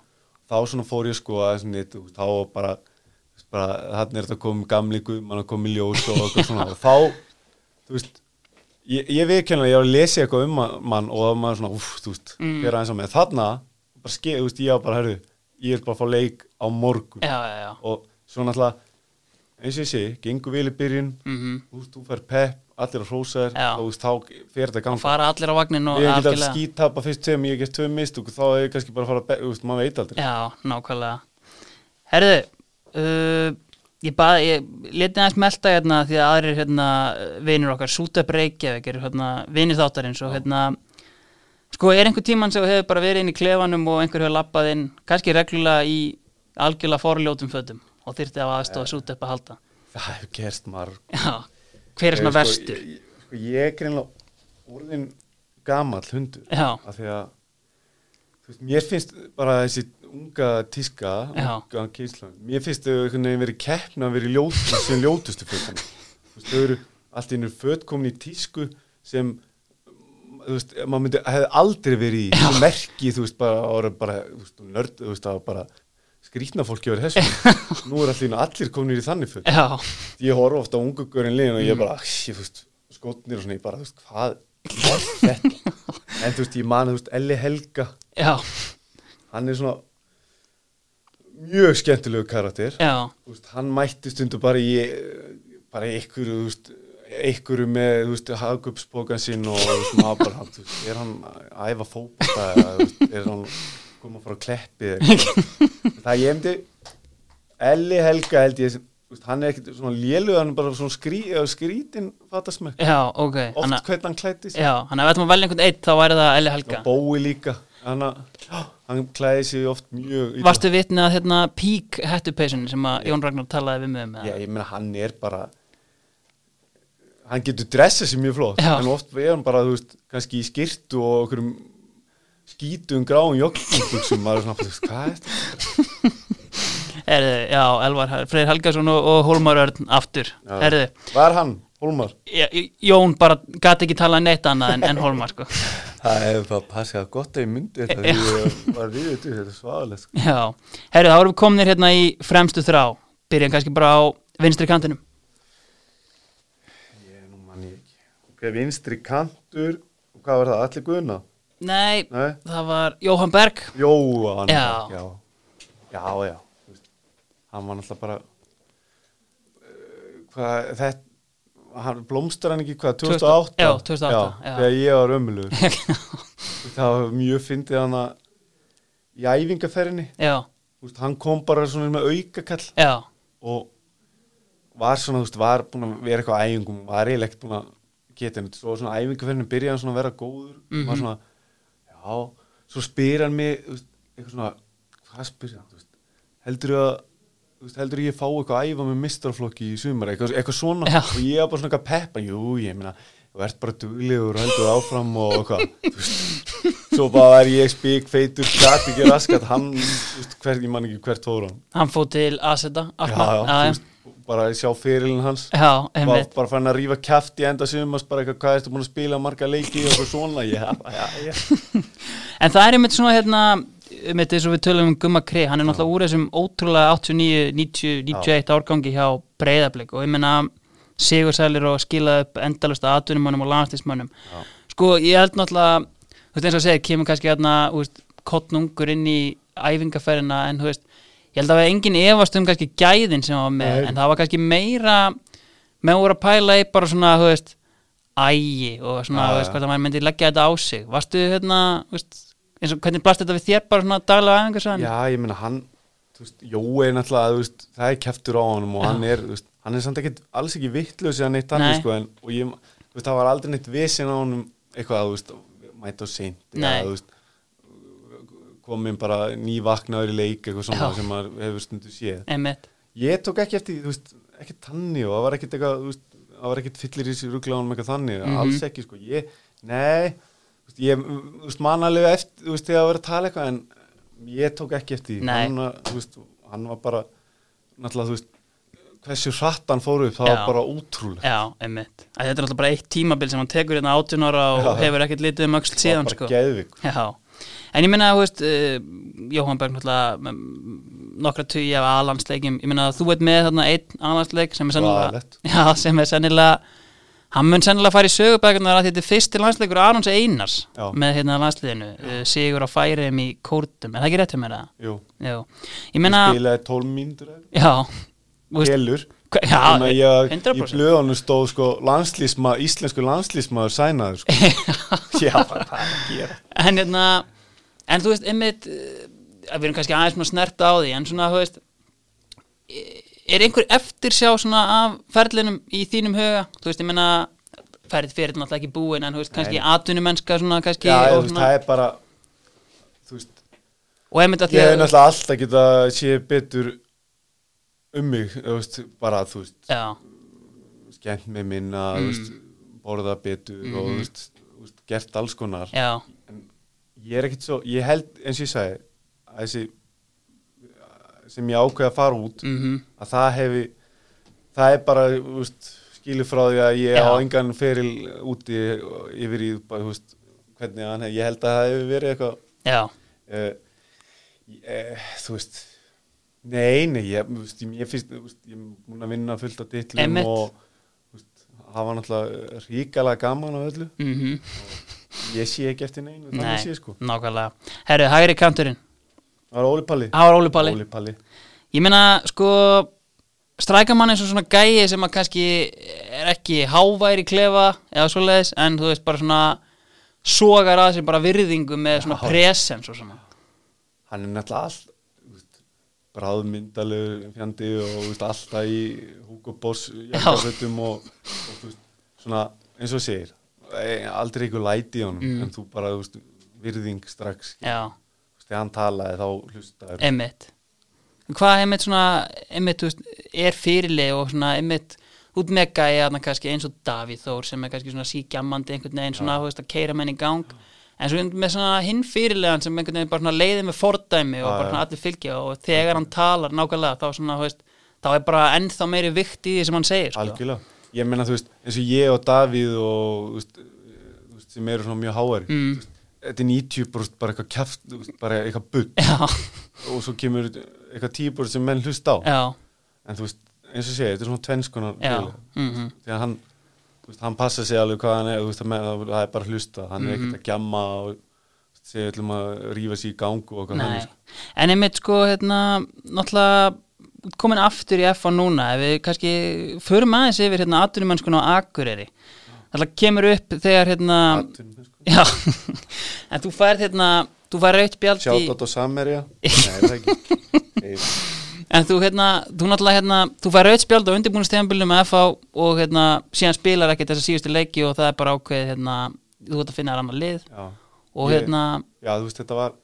[SPEAKER 2] þá svona fór ég sko að svona, þú veist, þá var bara, þú veist, bara þannig er þetta komið gamli guðmann að komið ljós og eitthvað svona og þá, þú veist ég, ég viðkennlega, ég var að lesa eitthvað um ma- mann og það var maður svona, úff, þú veist mm. fyrir aðeins á mig, þarna bara skeið, þú veist, ég var bara, herru, ég er bara að fá leik á morgun
[SPEAKER 1] já, já, já.
[SPEAKER 2] og svo náttúrulega eins og ég sé, gengur vel í byrjun
[SPEAKER 1] Mhm.
[SPEAKER 2] þú veist, þú fær pepp, allir að hrósa þér
[SPEAKER 1] Já.
[SPEAKER 2] þá, þú veist, þá fer þetta ganga
[SPEAKER 1] fara allir á vagnin og
[SPEAKER 2] ég get að
[SPEAKER 1] algjörlega.
[SPEAKER 2] skítapa fyrst tveim, ég get tveim mist og þá er ég kannski bara að fara að be- þú veist, maður veit aldrei
[SPEAKER 1] Já, nákvæmlega Herðu, uh, ég, bað, ég leti aðeins melta hérna því að aðrir hérna, vinur okkar Súta Breykjavík eru hérna, vinir þáttarins og hérna sko, er einhver tíman sem þú hefur bara verið inn í klefanum og einhver hefur lappað inn, kannski reglulega í algjörlega forljótum fötum og þyrfti að aðstofa Súta upp að halda
[SPEAKER 2] það hefur gerst marg
[SPEAKER 1] Já, hver er svona
[SPEAKER 2] Ég,
[SPEAKER 1] verstur?
[SPEAKER 2] Sko, ég, sko, ég er greinlega orðin gamall hundur
[SPEAKER 1] Já.
[SPEAKER 2] af því að þú veist, mér finnst bara þessi unga tíska
[SPEAKER 1] Já.
[SPEAKER 2] unga kynslan, mér finnst þau einhvern veginn verið keppna að verið ljótustu sem ljótustu fötum þú veist, þau eru allt í einu föt komin í tísku sem þú veist, maður myndi, hefði aldrei verið í þessu merki, þú veist, bara, ára, bara þú veist, og nörd, þú veist, það var bara skrýtna fólki verið þessu nú er allir, allir komin í þannig föt
[SPEAKER 1] Já,
[SPEAKER 2] ég horf ofta á ungu görin liðin og ég bara, ég, þú veist, skotnir og svona, ég bara, þú veist, hvað er þetta? En þú veist, ég man, þú veist, Elli Helga,
[SPEAKER 1] já,
[SPEAKER 2] hann er svona mjög skemmtilegu karakter.
[SPEAKER 1] já
[SPEAKER 2] Þú veist, hann mætti stundu bara í, eh, bara í ykkur, þú veist, ykkur með, þú veist, hagupsbókan sinn og, þú veist, maður bara, hann, þú veist, er hann að æfa fókbóta eða, þú veist, er hann koma frá kleppi eða eitthvað. Það ég hefndi, Elli Helga held ég, sem- þú veist, hann er ekkert svona léluð, hann er bara svona skrý, skrítin, fattast mig,
[SPEAKER 1] Já, ok,
[SPEAKER 2] oft
[SPEAKER 1] þannig að-
[SPEAKER 2] hvernig hann klættist.
[SPEAKER 1] Já, hann að við ætlum að velja einhvern eitt þá væri það Eli Helga
[SPEAKER 2] Og Bói líka, hann, að- hann klæði sig oft mjög illa.
[SPEAKER 1] Varstu vitni að hérna pík hettupeysunni sem að Jón Ragnar talaði við mig um
[SPEAKER 2] Já,
[SPEAKER 1] eða?
[SPEAKER 2] ég meina hann er bara hann getur dressað sér mjög flott
[SPEAKER 1] Já.
[SPEAKER 2] en oft er hann bara, þú veist, kannski í skyrtu og okkur skítum gráum joggingbuxum maður er svona, þú veist, hvað er þetta?
[SPEAKER 1] Erðu, já, Elvar Hel- Freyr Helgason og, og Hólmar Örn aftur
[SPEAKER 2] Já.
[SPEAKER 1] Erðu,
[SPEAKER 2] Hvað er hann, Hólmar?
[SPEAKER 1] Jón bara gat ekki talað neitt annað en, en Hólmar sko
[SPEAKER 2] Það er bara að passa að gott að ég myndi þetta því ég var við þetta, þetta er svaðalegt sko.
[SPEAKER 1] Já, herðu, þá erum við komnir hérna í fremstu þrá Byrjum kannski bara á vinstri kantinum
[SPEAKER 2] Ég, nú mann ég ekki Ok, vinstri kantur og hvað var það, allir guðna?
[SPEAKER 1] Nei,
[SPEAKER 2] Nei?
[SPEAKER 1] það var Jóhann Berg
[SPEAKER 2] Jóan
[SPEAKER 1] Já.
[SPEAKER 2] já, já, já. Þú veist, hann var náttúrulega bara uh, hvað, þetta hann blómstur hann ekki hvað, 2008
[SPEAKER 1] Já, 2008, já.
[SPEAKER 2] þegar ég var ömulur það var mjög fyndið hann að í æfingaferðinni
[SPEAKER 1] Já,
[SPEAKER 2] Þú veist, hann kom bara svona með aukakall
[SPEAKER 1] já,
[SPEAKER 2] og var svona, þú veist, var búin að vera eitthvað á æfingum, var eiginlega ekkert búin að geta henni, svo svona æfingaferðinu byrjaði hann svona að vera góður, var svona já, svo spyr hann mig þú veist, eitthvað svona, hvað spyr hann þú veist, heldur að þú veist, heldur ég fá eitthvað að æfa með mistraflokki í sumar, eitthvað, eitthvað svona
[SPEAKER 1] Já.
[SPEAKER 2] og ég var bara svona eitthvað peppa, jú, ég meina þú ert bara duglegur og heldur áfram og eitthvað, þú veist svo bara var ég spík, feitur, gæti ekki raskat hann, þú veist, hvert, ég man ekki hvert fór hann
[SPEAKER 1] hann fóð til Aseta
[SPEAKER 2] já, já, þú
[SPEAKER 1] já,
[SPEAKER 2] veist, bara að sjá fyrirlin hans
[SPEAKER 1] já,
[SPEAKER 2] bara,
[SPEAKER 1] einmitt
[SPEAKER 2] bara fann að rífa kæft í enda sumars bara eitthvað, hvað ertu búin að spila marga leiki og eitthvað svona, já, já, já
[SPEAKER 1] En það er einmitt svona hérna einmitt eins og við tölum um Gumma Kri hann er náttúrulega úr þessum ótrúlega 89, 90, 91 árgangi hjá breyðablik og ég meina sigur sælir og skila upp endalasta atvinnumönnum og landslismönnum sko ég held náttúrulega þú veist eins og að segja, kemur kannski hérna þú veist, kottnungur inn í æfingaferðina en þú veist, ég held að við enginn efast um kannski gæðin sem hann var með
[SPEAKER 2] Nei.
[SPEAKER 1] en það var kannski meira með voru að pæla í bara svona, þú veist ægi og svona,
[SPEAKER 2] Já,
[SPEAKER 1] þú
[SPEAKER 2] já.
[SPEAKER 1] veist, hvort að maður myndi leggja þetta á sig varstu hérna, þú veist eins og hvernig blast þetta við þér bara svona daglega æfingarsaðan
[SPEAKER 2] já, ég meina hann þú veist, Jói er náttúrulega, þú veist, það er kæftur á honum og hann er, þú veist, hann er samt ekki alls ekki vittlösi að neitt
[SPEAKER 1] Nei.
[SPEAKER 2] annars sko, en, og ég, þú veist, það var aldrei neitt vesen á honum eitthvað, þú veist, mæta og seint
[SPEAKER 1] Nei.
[SPEAKER 2] eða, þú veist komin bara nývaknaður í leik eitthvað svona
[SPEAKER 1] Já.
[SPEAKER 2] sem maður hefur stundu séð
[SPEAKER 1] einmitt,
[SPEAKER 2] ég tók ekki eftir, því, þú veist, ekki tanni og það var ekkert eitthvað, þú veist, það var ekkert fyllir í sér rugglaunum eitthvað þannig,
[SPEAKER 1] Mhm.
[SPEAKER 2] alls ekki, sko, ég, nei, þú veist, ég, þú veist, man alveg eftir, þú veist, þegar að vera að tala eitthvað, en ég tók ekki eftir, því.
[SPEAKER 1] Nei.
[SPEAKER 2] hann, var, þú veist, hann var bara, náttúrulega, þú veist, hversu hratt hann fór upp, það
[SPEAKER 1] Já.
[SPEAKER 2] var bara ótrúlega,
[SPEAKER 1] já, einmitt Æ, þetta er alltaf bara eitt tímabil sem hann tekur hérna 18 ára og
[SPEAKER 2] Já.
[SPEAKER 1] hefur ekkert litið um öxl
[SPEAKER 2] það var
[SPEAKER 1] síðan
[SPEAKER 2] bara
[SPEAKER 1] sko.
[SPEAKER 2] geðvik,
[SPEAKER 1] já, En ég minna, þú veist, uh, Jóhann Berg náttúrulega með nokkra tugi af alansleikjum, ég minna að þú veit með þarna einn alansleik sem er sennilega,
[SPEAKER 2] Svaðalegt.
[SPEAKER 1] já, sem er sennilega hann mun sennilega fara í sögubækunar að þetta er fyrsti landsleikur Arons Einars
[SPEAKER 2] Já.
[SPEAKER 1] með hérna landsliðinu, uh, sigur á færiðum í kórtum, er það ekki rétt hjá mér það?
[SPEAKER 2] Jú,
[SPEAKER 1] Jú, ég minna,
[SPEAKER 2] ég spilaði 12 mínútur eða
[SPEAKER 1] já, þú veist,
[SPEAKER 2] Kelur
[SPEAKER 1] hva- já,
[SPEAKER 2] Þannig að ég, í
[SPEAKER 1] 100%.
[SPEAKER 2] blöðunum stóð sko landslísma, íslensku landslísmaður sænaður sko. Já, hvað er að gera
[SPEAKER 1] en hérna en þú veist, einmitt eh, að við erum kannski aðeins mér að snerta á því en svona, þú veist eh, er einhver eftirsjá svona af ferlinum í þínum huga, þú veist, ég meina ferð fyrir náttúrulega ekki búin en þú veist, kannski atvinnumennska svona, kannski
[SPEAKER 2] Já, þú
[SPEAKER 1] og,
[SPEAKER 2] veist,
[SPEAKER 1] svona,
[SPEAKER 2] það er bara Þú veist,
[SPEAKER 1] og einmitt að
[SPEAKER 2] ég
[SPEAKER 1] því
[SPEAKER 2] hef
[SPEAKER 1] að
[SPEAKER 2] náttúrulega alltaf geta sé betur um mig, þú veist, bara þú veist,
[SPEAKER 1] já,
[SPEAKER 2] skemmt með minna, þú veist,
[SPEAKER 1] Mm.
[SPEAKER 2] borða betur og
[SPEAKER 1] Mm-hmm.
[SPEAKER 2] þú veist, þú veist, gert alls konar
[SPEAKER 1] já,
[SPEAKER 2] en ég er ekkert svo, ég held eins og ég sagði að þessi sem ég ákveði að fara út
[SPEAKER 1] mhm,
[SPEAKER 2] að það hefi það er bara þú veist, skilur frá því að ég
[SPEAKER 1] Já.
[SPEAKER 2] á engan feril úti yfir í bara, þú veist, hvernig hann hef, ég held að það hefur verið eitthvað
[SPEAKER 1] já
[SPEAKER 2] uh, uh, þú veist nei, nei, ég, þú veist, ég, ég finnst þú veist, ég er múin að vinna fullt á titlum
[SPEAKER 1] Einmitt.
[SPEAKER 2] og þú veist, hafa náttúrulega ríkalega gaman á öllu
[SPEAKER 1] mhm,
[SPEAKER 2] ég sé ekki eftir neinu,
[SPEAKER 1] nei,
[SPEAKER 2] þannig sé sko
[SPEAKER 1] nákvæmlega herru, hægri kanturinn,
[SPEAKER 2] það var Óli Palli
[SPEAKER 1] það var Óli Palli
[SPEAKER 2] Óli Palli
[SPEAKER 1] Ég meina, sko strækar mann eins og svona gæi sem að kannski er ekki háværi klefa eða svoleiðis, en þú veist bara svona sogar að sér bara virðingu með svona presens og svona
[SPEAKER 2] hann er náttúrulega allt þú veist, bráðmyndalegur fjandi og þú veist, alltaf í Hugo Boss jakkafötum og, og þú veist, svona eins og segir eh, aldrei ykkur læti í honum
[SPEAKER 1] Mm.
[SPEAKER 2] en þú bara þú veist, virðing strax skilur.
[SPEAKER 1] Já,
[SPEAKER 2] Þú veist, þegar hann talaði þá hlustaður
[SPEAKER 1] einmitt Hvað einmitt svona, einmitt, þú veist er fyrirlið og svona einmitt út með gæi að kannski eins og Davíð Þór sem er kannski svona síkjammandi einhvern veginn svona, þú veist, að keira menn í gang en svo með svona hinn fyrirlegan sem einhvern veginn bara svona leiðið með fordæmi og
[SPEAKER 2] Já,
[SPEAKER 1] bara
[SPEAKER 2] já.
[SPEAKER 1] svona allir fylgja og þegar hann talar nákvæmlega þá svona, þú veist, þá er bara ennþá meiri vikt í því sem hann segir, sko
[SPEAKER 2] algjörlega ég meina þú veist eins og ég og Davíð og þú veist, eh, þú veist, sem eru svona mjög háari
[SPEAKER 1] Mm.
[SPEAKER 2] þú veist, þetta er 90 bara eitthvað kjaft þú veist, bara eitthvað bull
[SPEAKER 1] Já,
[SPEAKER 2] og svo kemur eitthvað 10 sem menn hlusta á
[SPEAKER 1] já,
[SPEAKER 2] en þú veist, eins og segja, þetta er svona tvennskonar
[SPEAKER 1] já
[SPEAKER 2] bil.
[SPEAKER 1] mm
[SPEAKER 2] þegar hann þú veist, hann passa sig alveg hvað hann er þú veist, það með, það er bara að hlusta, hann er
[SPEAKER 1] Mhm.
[SPEAKER 2] ekkert að gjamma og þú veist, segja öllum að rífa sig í gangu og hvað hann
[SPEAKER 1] Nei,
[SPEAKER 2] er
[SPEAKER 1] en einmitt sko hérna, náttúrulega komin aftur í F1 núna, ef við kannski förum aðeins yfir hérna atunumennskuna á Akureyri náttúrulega kemur upp þegar hérna,
[SPEAKER 2] Atvinnumenn, sko.
[SPEAKER 1] já en þú færð hérna, þú færð raut bjald í
[SPEAKER 2] sjátt á Samerja Nei, það er ekki Nei,
[SPEAKER 1] en þú hérna, þú náttúrulega hérna þú færð raut bjald á undirbúinustegambulnum með F1 og hérna, síðan spilar ekkert þessa síðustu leiki og það er bara ákveðið hérna þú ert að finna þér annað lið
[SPEAKER 2] já.
[SPEAKER 1] og
[SPEAKER 2] Ég-
[SPEAKER 1] hérna,
[SPEAKER 2] já, þú veist, þetta var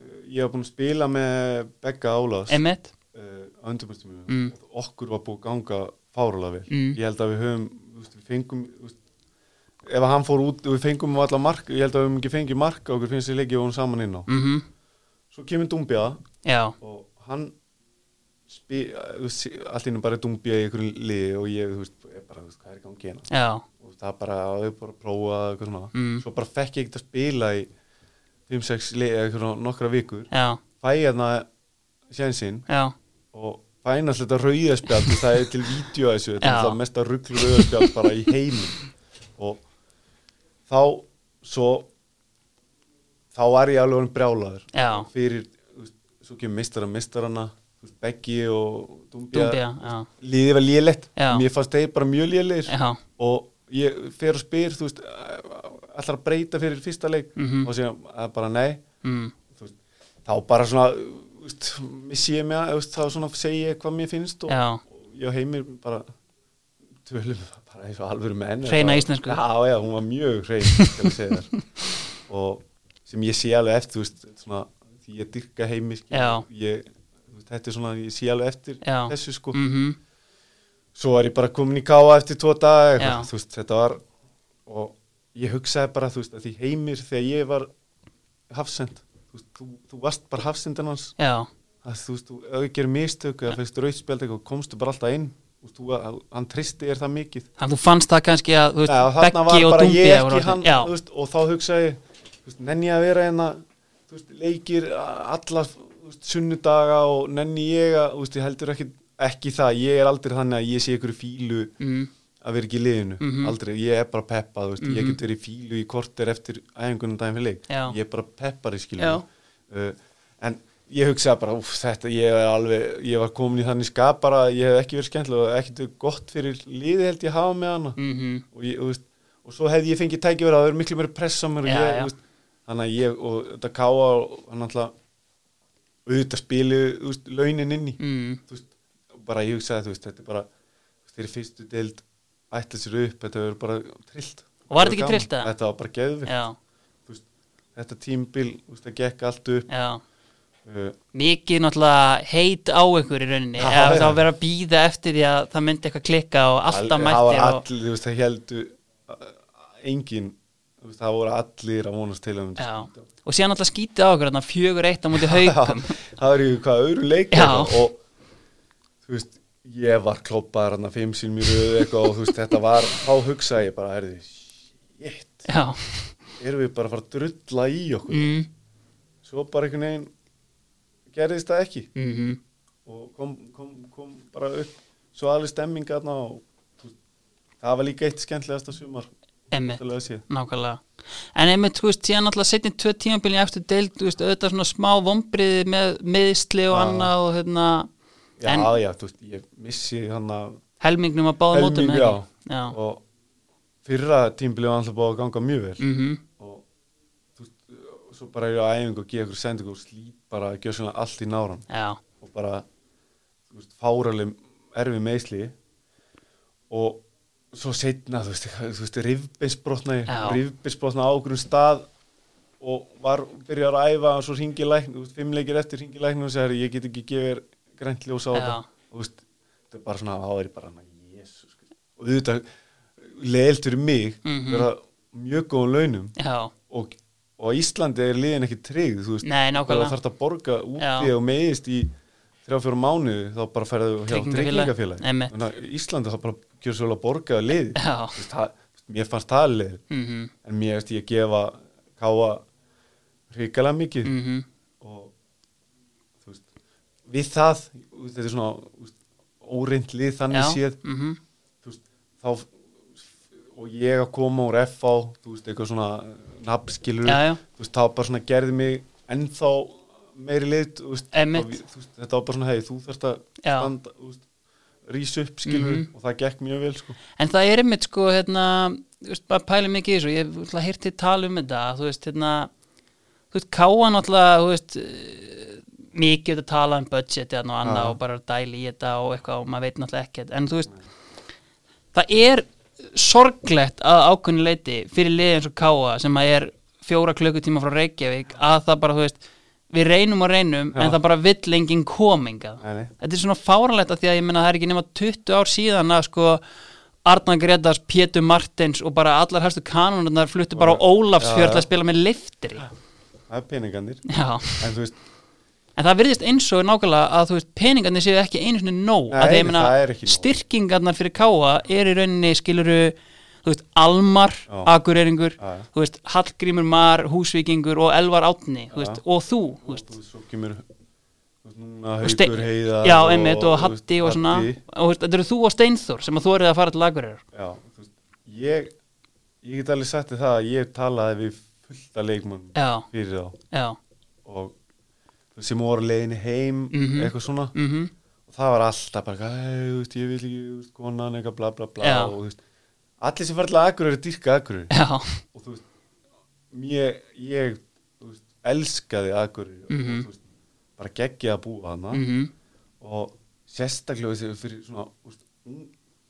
[SPEAKER 2] eh, ég var búin að spila með Begga Álás
[SPEAKER 1] einmitt
[SPEAKER 2] uh, undirbúrstumum
[SPEAKER 1] Mm.
[SPEAKER 2] og okkur var búið að ganga fárulega vel
[SPEAKER 1] Mm.
[SPEAKER 2] ég held að við höfum, þú veist, við fengum þú veist, ef að hann fór út og við fengum allar mark, ég held að við höfum ekki fengið mark og okkur finnst þið leikið og hún saman inn á
[SPEAKER 1] mhm,
[SPEAKER 2] svo kemur Dumbia
[SPEAKER 1] já,
[SPEAKER 2] og hann spi, eh, þú veist, allt innum bara Dumbia í einhverju liði og ég, þú veist, ég bara, þú veist, hvað er í gangi hérna
[SPEAKER 1] já
[SPEAKER 2] og það bara, að við bara að prófa eitthvað svona,
[SPEAKER 1] Mm.
[SPEAKER 2] svo bara fekk ég ekkert að spila í 5-6 liði, eitthvað nokkra vikur
[SPEAKER 1] já,
[SPEAKER 2] fæ hérna sjensinn
[SPEAKER 1] já,
[SPEAKER 2] og fænast þetta rauðaspjald það er til vídeo þessu þetta
[SPEAKER 1] Já.
[SPEAKER 2] er alltaf mesta rugg rauðaspjald bara í heiminn og þá svo þá var ég alveg hann brjálaður
[SPEAKER 1] Já.
[SPEAKER 2] fyrir, þú veist, svo kemur mistara mistarana, þú veist, Beggi og Dumbia,
[SPEAKER 1] dúmbja, já,
[SPEAKER 2] liðið var lélegt
[SPEAKER 1] Já.
[SPEAKER 2] mér fannst þeir bara mjög lélegir
[SPEAKER 1] já
[SPEAKER 2] og ég fer og spyr þú veist, allar að breyta fyrir fyrsta leik
[SPEAKER 1] Mhm.
[SPEAKER 2] og síðan að bara nei
[SPEAKER 1] mm.
[SPEAKER 2] þú veist, þá bara svona þú veist, missi ég mér, þú veist, þá svona segi ég hvað mér finnst og,
[SPEAKER 1] Já.
[SPEAKER 2] og ég og heimir bara tölum bara eins og alvöru menn
[SPEAKER 1] Hreina
[SPEAKER 2] Bara-
[SPEAKER 1] íslensku.
[SPEAKER 2] já, já, hún var mjög hrein skal ég segja þér. og sem ég sé alveg eftir þú veist, svona, því ég dyrka heimir skilur,
[SPEAKER 1] Já.
[SPEAKER 2] ég, þú veist, þetta er svona, ég sé alveg eftir
[SPEAKER 1] Já.
[SPEAKER 2] þessu sko
[SPEAKER 1] Mm
[SPEAKER 2] svo var ég bara komin í káa eftir tvo daga
[SPEAKER 1] Já.
[SPEAKER 2] eitthvað, þú veist, þetta var og ég hugsaði bara, þú veist, að því heimir þegar ég var hafsend þú, veist, þú, þú varst bara hafsendin hans
[SPEAKER 1] Já,
[SPEAKER 2] að þú veist, þú, ef ég gerir mistök eða fyrst rauðspjald eitthvað, komstu bara alltaf inn þú, veist, þú, að- hann tristi er það mikið
[SPEAKER 1] þannig að þú fannst það kannski að þú veist,
[SPEAKER 2] Nei, og þarna
[SPEAKER 1] Beggi
[SPEAKER 2] var
[SPEAKER 1] og
[SPEAKER 2] bara
[SPEAKER 1] Dúmbi
[SPEAKER 2] ég ekki hann
[SPEAKER 1] Já,
[SPEAKER 2] þú veist, og þá hugsaði ég, þú þú veist, nenni ég að vera hérna þú veist, leikir alla þú veist, sunnudaga og nenni ég að þú veist, ég heldur ekki, ekki það ég er aldrei þannig að ég sé ykkur fílu
[SPEAKER 1] mm,
[SPEAKER 2] að vera ekki í liðinu,
[SPEAKER 1] Mhm.
[SPEAKER 2] aldrei ég er bara peppa, þú veist, ég get verið í fílu í korter eftir æfingunum daginn fyrir leik
[SPEAKER 1] Já.
[SPEAKER 2] ég er bara peppari
[SPEAKER 1] Já.
[SPEAKER 2] skilur uh, en ég hugsaði bara úf, þetta, ég er alveg, ég var komin í þannig skap bara, að ég hef ekki verið skemmtilega og ekkert verið gott fyrir liði held ég hafa með hana
[SPEAKER 1] mm
[SPEAKER 2] og, ég, þú veist, og svo hefði ég fengið tækifæri að það verið miklu meiri press á mér og
[SPEAKER 1] Já,
[SPEAKER 2] ég,
[SPEAKER 1] já.
[SPEAKER 2] þú veist, þannig að ég og þetta káa og hann alltaf auðvitað spilu þú veist, launin inni
[SPEAKER 1] mm,
[SPEAKER 2] Þú veist, bara ég hugsaði þú veist, þetta er bara þú veist, þeirri fyrstu deild ætla sér upp, þetta verður bara trillt
[SPEAKER 1] Og var þetta ekki
[SPEAKER 2] Gaman.
[SPEAKER 1] trillt, eða?
[SPEAKER 2] Þetta var bara geðvikt,
[SPEAKER 1] Já,
[SPEAKER 2] þú veist, þetta tímbil þú veist, það gekk allt upp
[SPEAKER 1] já
[SPEAKER 2] uh,
[SPEAKER 1] mikið náttúrulega heit á ykkur í rauninni,
[SPEAKER 2] Já,
[SPEAKER 1] eða
[SPEAKER 2] já.
[SPEAKER 1] það var að vera að býða eftir því að það myndi eitthvað klikka og alltaf
[SPEAKER 2] það
[SPEAKER 1] mættir
[SPEAKER 2] var
[SPEAKER 1] og,
[SPEAKER 2] allir, þú veist, það heldu engin, þú veist, það voru allir að vonast til að myndi
[SPEAKER 1] já, og síðan náttúrulega skítið á ykkur þarna fjögur eitt á móti haukum
[SPEAKER 2] Já, það var í hvað öðru leik
[SPEAKER 1] Já.
[SPEAKER 2] eitthvað og þú veist, ég var kloppaður hann að fimm sín mér auðu eitthvað og þú veist, þetta var, þá hugsaði ég bara, herði, shit,
[SPEAKER 1] já,
[SPEAKER 2] erum við bara að fara að drulla í okkur,
[SPEAKER 1] mm,
[SPEAKER 2] svo bara einhvern veginn gerðist það ekki
[SPEAKER 1] mm
[SPEAKER 2] og kom, kom, kom bara upp svo alveg stemming aðna og þú veist, það var líka eitt skemmtilegasta sumar,
[SPEAKER 1] emmitt,
[SPEAKER 2] til að sé.
[SPEAKER 1] nákvæmlega en emmitt, þú veist, síðan náttúrulega setjum tvö tímabili eftir deild, þú veist, auðvitað svona smá vombriði með meðsli og
[SPEAKER 2] Já.
[SPEAKER 1] annað og hérna,
[SPEAKER 2] Já,
[SPEAKER 1] En-
[SPEAKER 2] já, þú veist, ég missi hann að
[SPEAKER 1] helmingnum að báða mótum
[SPEAKER 2] helming,
[SPEAKER 1] eða
[SPEAKER 2] já,
[SPEAKER 1] ekki? já,
[SPEAKER 2] og fyrra tímbilið var alltaf búið að ganga mjög vel
[SPEAKER 1] mhm,
[SPEAKER 2] og þú veist, og svo bara er ég á æfingu og gefa ykkur sendingu og slít bara að gjöra svona allt í náran
[SPEAKER 1] já,
[SPEAKER 2] og bara þú veist, fáraleg erfi meðsli og svo setna, þú veist, eitthvað, þú veist rifbeinsbrotna ég,
[SPEAKER 1] Já.
[SPEAKER 2] rifbeinsbrotna á okkur um stað og var byrjar að æfa og svo ringi lækn, þú veist, fimm leikir eftir ringi lækn og segir, ég get ekki gefið grænt ljós á
[SPEAKER 1] Já.
[SPEAKER 2] þetta, Og þú veist, þetta er bara svona, þá er ég bara, jésus og auðvitað, leiðilt fyrir mig
[SPEAKER 1] Mhm.
[SPEAKER 2] vera mjög góðum launum
[SPEAKER 1] já
[SPEAKER 2] og, og á Íslandi er liðin ekki tryggð þú veist,
[SPEAKER 1] Nei, nákvæmlega.
[SPEAKER 2] það þarf að borga úti
[SPEAKER 1] Já.
[SPEAKER 2] og meiðist í þrjá fjóra mánuði þá bara færðu hjá
[SPEAKER 1] Tryggingafélag.
[SPEAKER 2] tryggingafélag
[SPEAKER 1] Einmitt.
[SPEAKER 2] Þannig að Íslandi þá bara gjör svo vel að borga lið
[SPEAKER 1] Já.
[SPEAKER 2] veist, það, mér fannst það lið
[SPEAKER 1] mhm,
[SPEAKER 2] en mér veist ég að gefa káa hrikalega mikið
[SPEAKER 1] mhm
[SPEAKER 2] og þú veist við það, þú veist, þetta er svona þú veist, óreint lið þannig
[SPEAKER 1] já,
[SPEAKER 2] séð
[SPEAKER 1] mhm,
[SPEAKER 2] þú veist, þá og ég að koma úr FH þú veist, eitthvað svona nafnskilur
[SPEAKER 1] Já, já.
[SPEAKER 2] þú veist, þá bara svona gerði mig ennþá meiri lit þú veist,
[SPEAKER 1] Einmitt.
[SPEAKER 2] og við- þú veist, þetta var bara svona, hei, þú þarft að
[SPEAKER 1] Já. Mhm.
[SPEAKER 2] standa, þú veist, rís upp skilur og það gekk mjög vel, sko
[SPEAKER 1] En það er einmitt sko hérna, þú veist, bara pæli mikið í þessu, ég hef alltaf hirti tal um þetta, þú veist, hérna, þú veist, káan alltaf, þú veist, eh, mikið þetta tala um budgeti þarna og annað
[SPEAKER 2] Já.
[SPEAKER 1] og bara dæli í þetta og eitthvað og maður veit náttúrulega ekkert, en þú veist, það er sorglegt að ákveðinu leiti fyrir liðið eins og káa sem að er fjóra klukkutíma frá Reykjavík að það bara, þú veist, við reynum og reynum
[SPEAKER 2] Já.
[SPEAKER 1] en það bara vill enginn kominga
[SPEAKER 2] Nei, nei.
[SPEAKER 1] þetta er svona fáralegt að því að ég minna það er ekki nema 20 ár síðan að sko Arnar Gretars, Pétur Martins og bara allar hæstu kanonarnar fluttu bara á
[SPEAKER 2] Já,
[SPEAKER 1] Ólafsfjörð
[SPEAKER 2] já.
[SPEAKER 1] að spila með liftri
[SPEAKER 2] það er peningandir
[SPEAKER 1] já
[SPEAKER 2] en þú veist,
[SPEAKER 1] En það virðist eins og nákvæmlega að þú veist peningarnir séu ekki einu sinni nóg
[SPEAKER 2] Nei,
[SPEAKER 1] að því ég
[SPEAKER 2] nei,
[SPEAKER 1] meina,
[SPEAKER 2] það er ekki nóg.
[SPEAKER 1] styrkingarnar fyrir káa er í rauninni skiluru þú veist, Almar,
[SPEAKER 2] Já.
[SPEAKER 1] Akureyringur
[SPEAKER 2] Já, já.
[SPEAKER 1] þú veist, Hallgrímur Mar, Húsvíkingur og Elvar Átni, þú
[SPEAKER 2] Já.
[SPEAKER 1] veist, og þú þú veist,
[SPEAKER 2] þú veist, svo kemur þú veist, núna
[SPEAKER 1] Ste-
[SPEAKER 2] haukur heiða
[SPEAKER 1] Já, einmitt, og, Hatti og svona
[SPEAKER 2] Hatti.
[SPEAKER 1] og þú veist, þetta eru þú og Steinþór sem að þú eru að fara til Akureyrar
[SPEAKER 2] Já, þú veist, ég ég get alveg sagt þér það að ég talaði við fullta leikmann
[SPEAKER 1] Já.
[SPEAKER 2] fyrir þá
[SPEAKER 1] Já,
[SPEAKER 2] og þú veist, sem voru á leiðinni heim
[SPEAKER 1] Mhm.
[SPEAKER 2] eitthvað svona
[SPEAKER 1] mhm,
[SPEAKER 2] og það var alltaf bara eitthvað, "Æ, þú veist, ég vil ekki, þú veist, konan eitthvað bla bla bla
[SPEAKER 1] Já.
[SPEAKER 2] og þú veist, allir sem fara til aðgur eru dýrka aðgur
[SPEAKER 1] já,
[SPEAKER 2] og þú veist, mér, ég þú veist, elskaði aðgur
[SPEAKER 1] Mhm.
[SPEAKER 2] og þú veist, bara geggja að búa hana
[SPEAKER 1] mhm
[SPEAKER 2] og sérstaklega þessi fyrir svona, þú veist, un,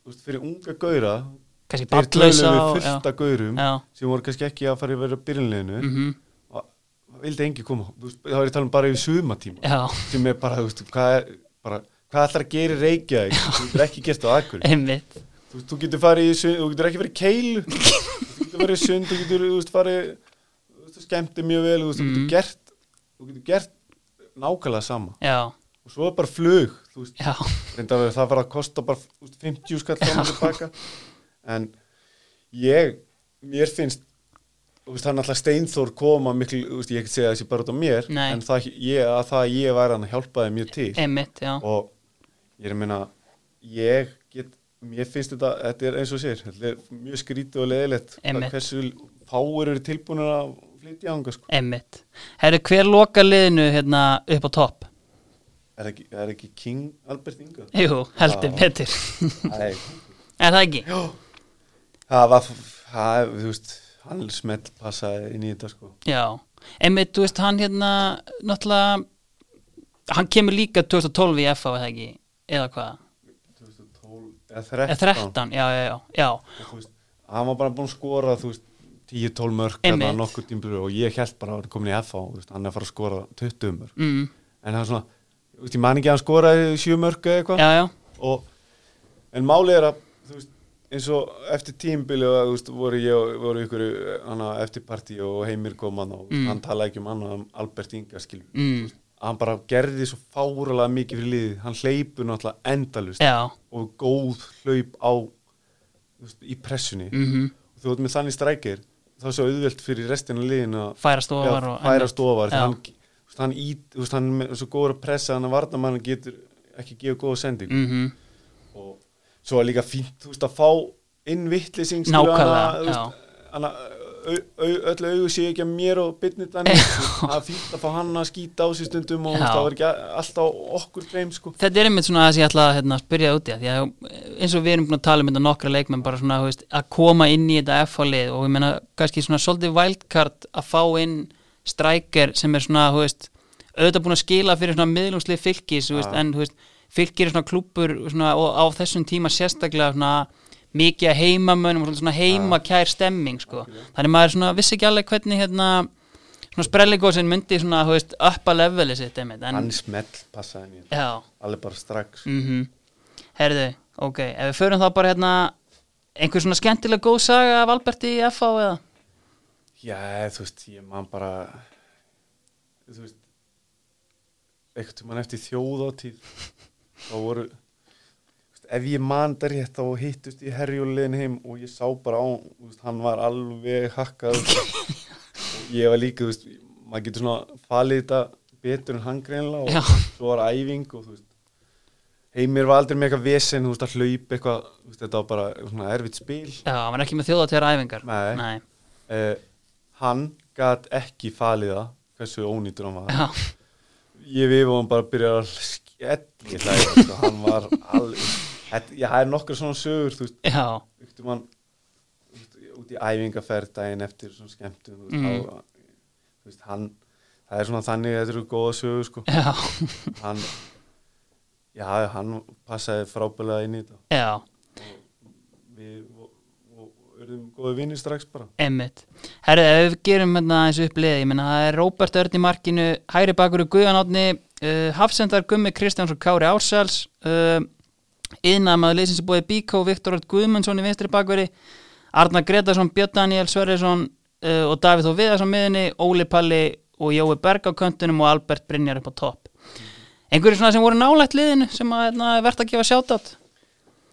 [SPEAKER 2] þú veist, fyrir unga gauðra
[SPEAKER 1] kannski
[SPEAKER 2] þeir
[SPEAKER 1] ballausa
[SPEAKER 2] töluðu
[SPEAKER 1] og-
[SPEAKER 2] við fullta gauðrum
[SPEAKER 1] Já.
[SPEAKER 2] sem voru kannski ekki að fara að vera byrjunleginu
[SPEAKER 1] Já, mhm,
[SPEAKER 2] og það vildi engi koma þú veist, þá er ég að tala um bara yfir sumatíma
[SPEAKER 1] já,
[SPEAKER 2] sem er bara, þú veist, hvað er bara, hvað ætlar að gera í Reykjavík þú getur ekki gert á Akur þú,
[SPEAKER 1] einmitt
[SPEAKER 2] veist, þú getur farið í sund, þú getur ekki farið í keilu þú getur farið í sund, þú getur þú veist, farið, þú veist, skemmti mjög vel þú veist, þú
[SPEAKER 1] Mhm.
[SPEAKER 2] getur gert þú getur gert nákvæmlega sama
[SPEAKER 1] Já,
[SPEAKER 2] og svo er bara flug þú veist,
[SPEAKER 1] já,
[SPEAKER 2] reynda að það var að kosta bara þú veist, 50 skall fram og tilbaka en ég, mér finnst þú þú veist, það er náttúrulega Steinþór koma miklu, þú veist, ég ekki segja þessi bara út á mér
[SPEAKER 1] Nei.
[SPEAKER 2] en það, ég, að það ég væri hann að hjálpa þeim mjög til
[SPEAKER 1] Emmitt, já.
[SPEAKER 2] og ég er að minna ég get, mér finnst þetta þetta er eins og sér, þetta er mjög skrítið og leðilegt,
[SPEAKER 1] Einmitt.
[SPEAKER 2] hversu fáur eru tilbúinir að flytja ánga sko.
[SPEAKER 1] Emmitt. Herru, hver loka liðinu hérna upp á topp?
[SPEAKER 2] er, ekki, er ekki King Albert Inga?
[SPEAKER 1] Jú, heldur
[SPEAKER 2] Já.
[SPEAKER 1] betur.
[SPEAKER 2] Nei,
[SPEAKER 1] er það ekki?
[SPEAKER 2] það var það, þú veist, hann smelt passaði inn í þetta sko
[SPEAKER 1] Já. Emmitt, þú veist, hann hérna, náttúrulega, hann kemur líka 2012 í FA, er það ekki? Eða hvað?
[SPEAKER 2] 2012,
[SPEAKER 1] Eða
[SPEAKER 2] eða 13
[SPEAKER 1] 13, já, já, já, já.
[SPEAKER 2] Og, þú veist, hann var bara búin að skora þú veist, 10-12 mörg
[SPEAKER 1] Einmitt.
[SPEAKER 2] nokkur tímpur og ég held bara að hann komin í FH þú veist, hann er að fara að skora 20 mörg
[SPEAKER 1] Mm.
[SPEAKER 2] en það er svona, þú veist, ég man ekki að hann skoraði 7 mörg eða eitthvað
[SPEAKER 1] Já, já,
[SPEAKER 2] Og- en málið er að þú veist, eins og eftir tímbili og þú veist, voru ég og voru ykkur hana, eftir partí og heimir koman og
[SPEAKER 1] Mm.
[SPEAKER 2] hann talaði ekki um annað um Albert Inga skilur
[SPEAKER 1] mm.
[SPEAKER 2] hann bara gerði svo fárulega mikið fyrir liðið, hann hleypur náttúrulega endalust
[SPEAKER 1] já,
[SPEAKER 2] og góð hlaup á þú veist, í pressunni
[SPEAKER 1] mm
[SPEAKER 2] og þú veit með þannig strækir þá er svo auðvelt fyrir restina liðin að
[SPEAKER 1] færast ofar
[SPEAKER 2] Já,
[SPEAKER 1] og...
[SPEAKER 2] færast ofar
[SPEAKER 1] Já.
[SPEAKER 2] þannig hann, þú veist, hann, í, þú veist, hann er svo góður að pressa hann að varnamann getur ekki gefa góða sending
[SPEAKER 1] Mm
[SPEAKER 2] og svo er líka fínt þú veist að fá inn vittlýsing
[SPEAKER 1] Nákvæmlega,
[SPEAKER 2] hana, au, au, öll augu sé ekki að mér og byrnit hann það er fínt að fá hann að skýta á sér stundum og þú veist,
[SPEAKER 1] Já.
[SPEAKER 2] það var ekki a- allt á okkur greim sko
[SPEAKER 1] Þetta er einmitt svona það sem ég ætla að hérna, spyrja úti því að eins og við erum búin að tala um þetta nokkra leikmenn bara svona þú veist, að koma inn í þetta F-lið og ég meina kannski svona svolítið wildcard að fá inn strækir sem er svona þú veist, auðvitað búin að skila fyrir svona miðlungslið fylgis þú veist, en þú veist, fylgir er svona klúpur svona, og á þessum tíma sérstaklega svona mikið að heimamönum og svolítið svona heimakær stemming sko. þannig maður svona vissi ekki alveg hvernig hérna, svona sprelligósin myndi svona þú veist, uppa leveli sitt einmitt, en,
[SPEAKER 2] hann smell passaði mér
[SPEAKER 1] já
[SPEAKER 2] alveg bara strax
[SPEAKER 1] mm Herðu, ok, ef við förum þá bara hérna einhver svona skemmtilega góð saga af Alberti í FH eða?
[SPEAKER 2] Já, þú veist, ég man bara þú veist einhvern tímann eftir þjóðátíð þá voru þú veist, ef ég man það rétt þá hittust ég herjulegin heim og ég sá bara á þú veist, hann var alveg hakkað og ég var líka, þú veist maður getur svona falið þetta betur en hann greinlega og
[SPEAKER 1] Já.
[SPEAKER 2] svo var æfing og þú veist heimir var aldrei með eitthvað vesen, þú veist, að hlaupa eitthvað þú veist, þetta var bara svona erfitt spil
[SPEAKER 1] Já, hann var ekki með þjóðatöra æfingar
[SPEAKER 2] Nei.
[SPEAKER 1] Nei.
[SPEAKER 2] uh, hann gat ekki falið það hversu ónýtur hann var
[SPEAKER 1] Já,
[SPEAKER 2] ég við og hann bara byrjar að skelli það hann var alveg Þetta- já, það er nokkra svona sögur þú veist,
[SPEAKER 1] já,
[SPEAKER 2] yktum hann út í æfingaferð daginn eftir svona skemmtum þú veist,
[SPEAKER 1] Mm.
[SPEAKER 2] þá- þú veist, hann það er svona þannig að þetta eru góða sögur sko.
[SPEAKER 1] já,
[SPEAKER 2] hann já, hann passaði frábælega inn í þetta
[SPEAKER 1] já,
[SPEAKER 2] við og, og, erum góði vinni strax bara
[SPEAKER 1] emmitt Herðu, ef við gerum hérna eins og uppliði ég meina það er Róbert Örn í markinu Hæri bakur og Guðan Átni uh, Hafsendar Gummi Kristjáns og Kári Ársals uh, Yðnamaður leysins er búið Bíkó, Viktor Örn Guðmundsson í vinstri bakveri Arnar Gretarsson, Björn Daniel Sverjesson uh, og Davíð Þó Viðarsson miðinni, Óli Palli og Jói Berg á köntunum og Albert Brynjar upp á topp. Einhverju svona sem voru nálægt liðinu sem að hérna, er verðt að gefa sjátátt?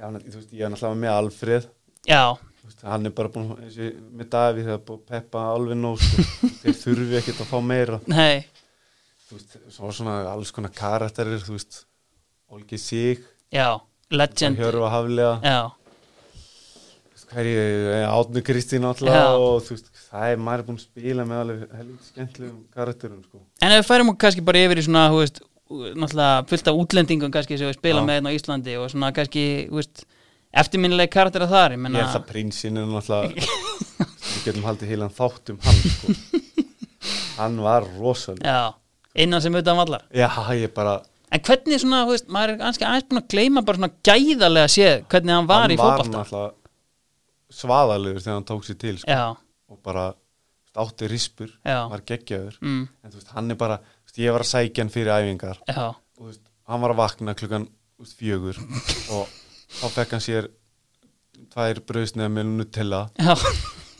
[SPEAKER 2] já, þú veist, ég er náttúrulega með Alfreð
[SPEAKER 1] Já,
[SPEAKER 2] Þú veist, hann er bara búin að- eins og með Davíð það er búin að peppa alveg nóg sko. þeir þurfi ekkert að fá meira
[SPEAKER 1] nei,
[SPEAKER 2] Þú veist, svo svona alls konar karakterir þú veist, Olgi Sig
[SPEAKER 1] já, legend,
[SPEAKER 2] Hjörfa Haflega
[SPEAKER 1] já,
[SPEAKER 2] hverju, Átnu Kristín
[SPEAKER 1] Já.
[SPEAKER 2] alltaf og þú veist, það er maður er búin að spila með alveg helviti skemmtilegum karakterum sko.
[SPEAKER 1] En ef við færum okkur kannski bara yfir í svona, hú veist, náttúrulega fullt af útlendingum kannski sem við spila
[SPEAKER 2] Já.
[SPEAKER 1] með hérna á Íslandi og svona kannski, hú veist, eftirminnilega karaktera þar, ég
[SPEAKER 2] ég
[SPEAKER 1] menna,
[SPEAKER 2] er það prinsinn en alltaf við getum haldið heilan þátt um hann sko. hann var rosalega
[SPEAKER 1] já, innan sem utan vallar.
[SPEAKER 2] já, ég bara
[SPEAKER 1] En hvernig svona, hú veist, maður er kannski aðeins búin að gleyma bara svona gæðalega séð hvernig hann var
[SPEAKER 2] hann
[SPEAKER 1] í fótbolta.
[SPEAKER 2] náttúrulega svaðalegur þegar hann tók sér til sko.
[SPEAKER 1] Já,
[SPEAKER 2] og bara þú veist, átti rispur,
[SPEAKER 1] Já.
[SPEAKER 2] var geggjaður
[SPEAKER 1] mm,
[SPEAKER 2] en þú veist, hann er bara, þú veist, ég var að sækja hann fyrir æfingar
[SPEAKER 1] já,
[SPEAKER 2] og þú veist, hann var að vakna klukkan þú veist, fjögur og þá fekk hann sér tvær brauðsneið með nutella
[SPEAKER 1] já,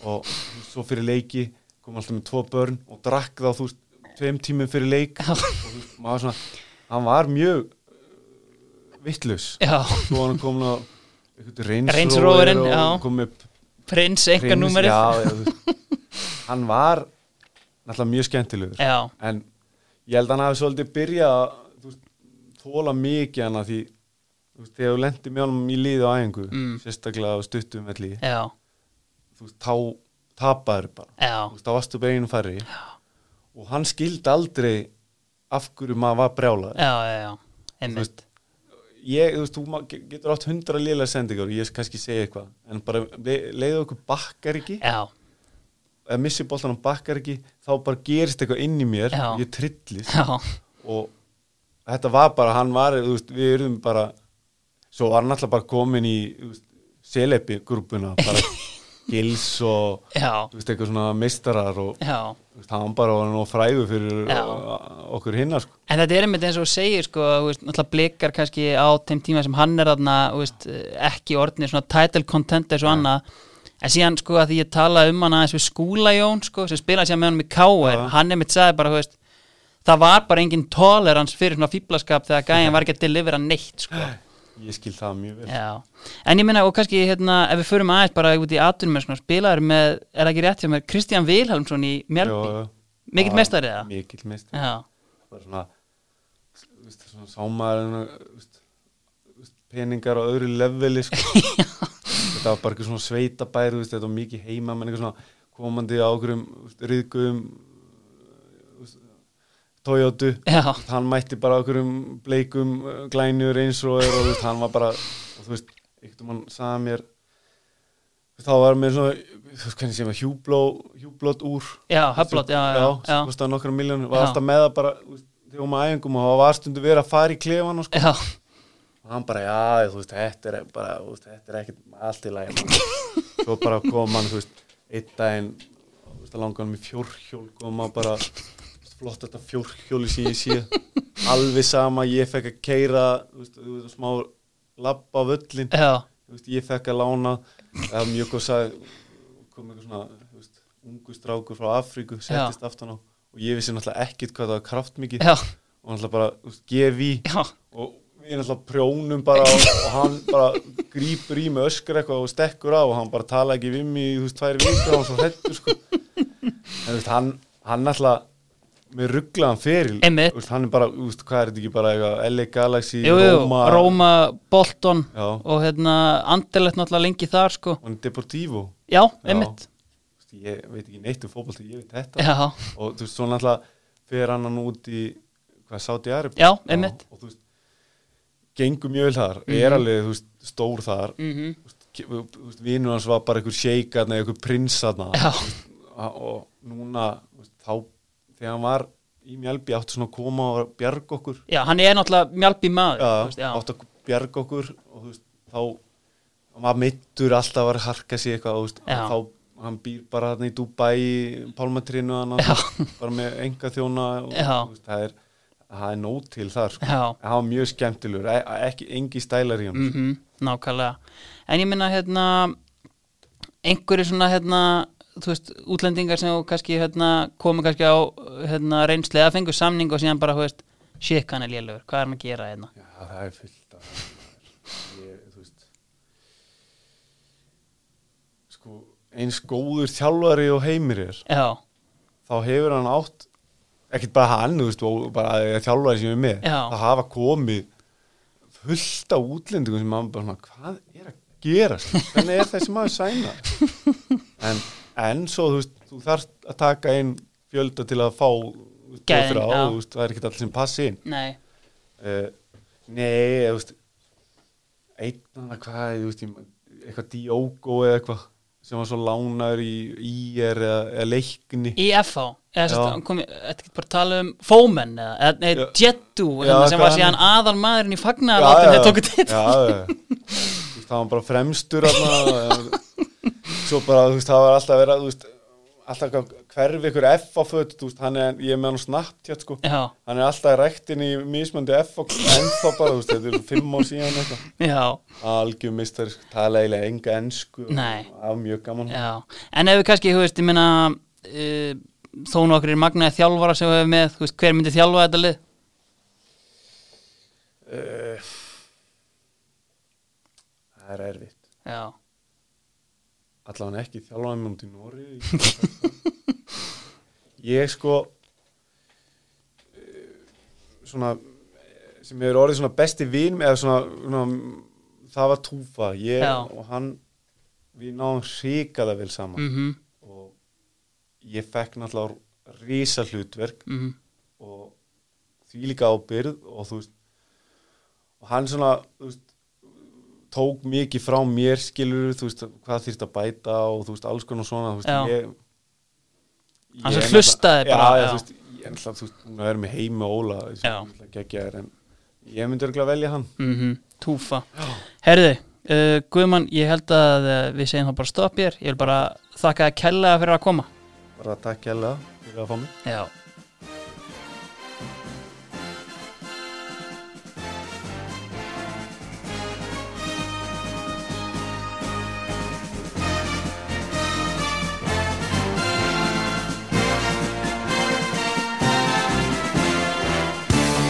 [SPEAKER 2] og þú veist, svo fyrir leiki kom alltaf með tvo börn og drakk þá þú veist, tveim tímum fyrir leik
[SPEAKER 1] Já.
[SPEAKER 2] og þú veist, maður svona, hann var mjög vittlaus
[SPEAKER 1] já,
[SPEAKER 2] svo var hann komin á
[SPEAKER 1] Range Roverinn,
[SPEAKER 2] reynsróverinn
[SPEAKER 1] já.
[SPEAKER 2] og kom með
[SPEAKER 1] prins, einhver
[SPEAKER 2] Prins,
[SPEAKER 1] númerið.
[SPEAKER 2] já, já, þú veist. hann var náttúrulega mjög skemmtilegur
[SPEAKER 1] Já,
[SPEAKER 2] en ég held að hann hafi svolítið byrjað að þú veist, þóla mikið hann að því þú veist, þegar þú lendir með honum í liði á æfingu
[SPEAKER 1] Mm.
[SPEAKER 2] sérstaklega á stuttum velli
[SPEAKER 1] já,
[SPEAKER 2] þú veist, þá tapaður bara
[SPEAKER 1] já,
[SPEAKER 2] þú veist, þá varstu bara einu færri og hann skildi aldrei af hverju maður var brjálaður
[SPEAKER 1] já, já, já, einmitt,
[SPEAKER 2] ég, þú veist, þú ma- ge- getur átt hundra liðlega sendingar og ég kannski segja eitthvað en bara le- leiðu okkur bakkar ekki
[SPEAKER 1] já,
[SPEAKER 2] eða missi boltanum bakkar ekki þá bara gerist eitthvað inn í mér
[SPEAKER 1] Já.
[SPEAKER 2] og ég trillist
[SPEAKER 1] já,
[SPEAKER 2] og þetta var bara, hann var þú veist, við erum bara svo var hann alltaf bara komin í þú veist, selepi grúpuna bara gils og
[SPEAKER 1] já,
[SPEAKER 2] þú veist, eitthvað svona meistarar og
[SPEAKER 1] já.
[SPEAKER 2] þú veist, hann bara var nú frægur fyrir
[SPEAKER 1] Já.
[SPEAKER 2] uh, okkur hinna sko.
[SPEAKER 1] En þetta er einmitt eins og þú segir sko, þú veist, náttúrulega blikar kannski á þeim tíma sem hann er þarna, þú veist, ekki orðnir svona title contenders og annað en síðan sko að því ég talaði um hann aðeins við skúlajón sko, sem spilaði síðan með honum í K.R.
[SPEAKER 2] Já.
[SPEAKER 1] hann einmitt sagði bara, þú veist það var bara engin tolerance fyrir svona fíblaskap þegar gæjan var ekki að delivera neitt sko.
[SPEAKER 2] ég skil það mjög vel
[SPEAKER 1] Já, en ég meina og kannski hérna, ef við förum aðeins bara út í atunum spilaður með, er það ekki rétt hjá mér Kristján Vilhelmsson í Mjölby
[SPEAKER 2] Jó,
[SPEAKER 1] mikill
[SPEAKER 2] já,
[SPEAKER 1] meistari það?
[SPEAKER 2] mikill meistari
[SPEAKER 1] Já,
[SPEAKER 2] bara svona, þú veist, svona sámaður veist, þú veist, peningar á öðru leveli sko. þetta var bara eitthvað svona sveitabær þú veist, þetta var mikið heima menn eitthvað svona komandi á okkurum riðgum Toyotu
[SPEAKER 1] já,
[SPEAKER 2] hann mætti bara okkurum bleikum eh, glænur eins og er og þú veist, hann var bara og þú veist, einhvern mann sagði mér þú veist, þá var mér svona þú veist hvernig sem að hjúbló hjúblót úr
[SPEAKER 1] já, höflót, já, já, já.
[SPEAKER 2] sem kostaði nokkra miljónir,
[SPEAKER 1] Já.
[SPEAKER 2] var alltaf með það bara þú veist, þegar maður æfingum og það var stundu verið að fara í klefan og sko,
[SPEAKER 1] Já,
[SPEAKER 2] og hann bara, já, þú veist, þetta er bara, þú veist, þetta er ekkert allt í lagi maður." svo bara kom hann, þú veist, einn daginn, þú veist, að langa hann með fjórhjól, kom hann bara þú veist, flott þetta fjórhjóli sem ég sé alveg sama, ég fekk að keira þú veist, þú veist, smá labba á völlin
[SPEAKER 1] já,
[SPEAKER 2] þú veist, ég fekk að lána eða mjög góð sagði kom eitthvað svona, þú veist, ungu strákur frá Afríku, settist aftan á og ég vissi náttúrulega ekkit hvað það var kraftmikið
[SPEAKER 1] já,
[SPEAKER 2] og náttúrulega bara, þú veist, gef í
[SPEAKER 1] já,
[SPEAKER 2] og við náttúrulega prjónum bara og, og hann bara grípur í með öskur eitthvað og stekkur á og hann bara tala ekki við mig í, þú veist, tvær vikur og hann svo hættur, sko en þú veist, hann, hann náttúrulega með rugglaðan feril
[SPEAKER 1] Einmitt.
[SPEAKER 2] Þú veist, hann er bara, þú veist, hvað er þetta ekki bara eitthvað, LA Galaxy,
[SPEAKER 1] jú, jú, Róma, Bolton
[SPEAKER 2] Já.
[SPEAKER 1] og hérna Anderlecht náttúrulega lengi þar sko
[SPEAKER 2] og hann er Deportivo
[SPEAKER 1] Já, einmitt,
[SPEAKER 2] Þú veist, ég veit ekki neitt um fótbolta, ég veit þetta
[SPEAKER 1] já,
[SPEAKER 2] og þú veist, svo náttúrulega fer hann hann út í hvað, Saudi Arabia
[SPEAKER 1] Já, einmitt.
[SPEAKER 2] og þú veist, gengur mjög vel þar er alveg, þú veist, stór þar mm -hmm. þú veist, ke- þú veist, vinur hans var bara einhver sheikarna, einhver prinsarna
[SPEAKER 1] já,
[SPEAKER 2] og núna þú veist, þá, þegar hann var í Mjálbi áttu svona að koma og bjarga okkur
[SPEAKER 1] já, hann er náttúrulega mjálpi maður
[SPEAKER 2] já,
[SPEAKER 1] þú veist, já,
[SPEAKER 2] áttu að bjarga okkur og þú veist, þá hann var meittur alltaf að harka sig eitthvað og þú veist,
[SPEAKER 1] Já.
[SPEAKER 2] þá hann býr bara þarna í Dubai í pálmatrinu hann
[SPEAKER 1] Já.
[SPEAKER 2] bara með enga þjóna og,
[SPEAKER 1] Já.
[SPEAKER 2] þú veist, það er, það er nót til þar sko.
[SPEAKER 1] já
[SPEAKER 2] En hann var mjög skemmtilegur, e- ekki engi stælar í hann
[SPEAKER 1] mm nákvæmlega En ég minna hérna einhverju svona hérna þú veist, útlendingar sem þú kannski hérna, komu kannski á hérna, reynsli eða fengu samning og síðan bara, þú veist shit, hann er lélugur, hvað er hann að gera hérna
[SPEAKER 2] Já, það er fullt af ég, þú veist sko, eins góður þjálfari og heimir er
[SPEAKER 1] Já,
[SPEAKER 2] þá hefur hann átt ekkert bara hann, þú veist, og bara að þjálfari sem er með,
[SPEAKER 1] Já.
[SPEAKER 2] það hafa komið fullt af útlendingum sem maður bara svona, hvað er að gerast hvernig er þessi maður sæna en, en svo, þú veist þú þarft að taka inn fjölda til að fá þú veist,
[SPEAKER 1] Gæðin,
[SPEAKER 2] tvo, þrjá,
[SPEAKER 1] já.
[SPEAKER 2] þú veist, það er ekkert allir sem passi inn
[SPEAKER 1] nei,
[SPEAKER 2] uh, nei, þú veist einn hana hvað þú veist, ég- eitthvað Diogo eða eitthvað sem var svo lánaður í IR eða, eða leikni
[SPEAKER 1] í FH E eða
[SPEAKER 2] Já.
[SPEAKER 1] sérst, hann kom, í- þetta getur bara að tala um Fómen eða, eða nei,
[SPEAKER 2] Já.
[SPEAKER 1] Jettu
[SPEAKER 2] Já,
[SPEAKER 1] hérna, sem
[SPEAKER 2] hvað
[SPEAKER 1] var
[SPEAKER 2] hann
[SPEAKER 1] síðan aðal maðurinn í fagnar
[SPEAKER 2] Já,
[SPEAKER 1] þegar
[SPEAKER 2] já,
[SPEAKER 1] tóku til
[SPEAKER 2] já, já. Þú veist, það var bara fremstur alveg, svo bara þú veist, það var alltaf að vera þú veist, alltaf að hverfi ykkur F á föt þú veist, hann er, ég er með hann snabbt hér sko
[SPEAKER 1] já,
[SPEAKER 2] hann er alltaf ræktin í mismöndi F og ennþá bara, þú veist, þetta er svo fimm ár síðan eitthvað,
[SPEAKER 1] já,
[SPEAKER 2] algjum mistar tala eiginlega enga ennsku
[SPEAKER 1] Nei.
[SPEAKER 2] það var mjög gaman
[SPEAKER 1] já en ef við kannski, þú veist, ég meina uh, þó nokkur er magnaði þjálfara sem við hefum með, þú veist, hver myndi þjálfa þetta lið
[SPEAKER 2] uh, það er erfitt
[SPEAKER 1] já,
[SPEAKER 2] allavega ekki þjálfaði mjög út í Nóri ég sko eh, svona eh, sem hefur orðið svona besti vin eða svona, svona það var Túfa ég
[SPEAKER 1] Já.
[SPEAKER 2] og hann við náðum hrikalega vel saman
[SPEAKER 1] mhm,
[SPEAKER 2] og ég fekk náttúrulega rísa hlutverk
[SPEAKER 1] mhm,
[SPEAKER 2] og því líka ábyrð og þú veist og hann svona þú veist, tók mikið frá mér skilur þú veist hvað þýrt að bæta og þú veist alls konar svona þú veist,
[SPEAKER 1] Já.
[SPEAKER 2] ég,
[SPEAKER 1] Hann
[SPEAKER 2] ég
[SPEAKER 1] sem hlustaði
[SPEAKER 2] náttúrulega-
[SPEAKER 1] bara,
[SPEAKER 2] já, já.
[SPEAKER 1] já.
[SPEAKER 2] þú veist, ég er náttúrulega þú veist hún er með heimi og óla
[SPEAKER 1] Já.
[SPEAKER 2] geggjær, en ég myndi örgulega velja hann
[SPEAKER 1] mhm, túfa Herðu, uh, Guðmann, ég held að uh, við segjum þá bara stopp hér Ég vil bara þakka að kella fyrir að koma
[SPEAKER 2] bara takk hérlega fyrir að fá mig
[SPEAKER 1] Já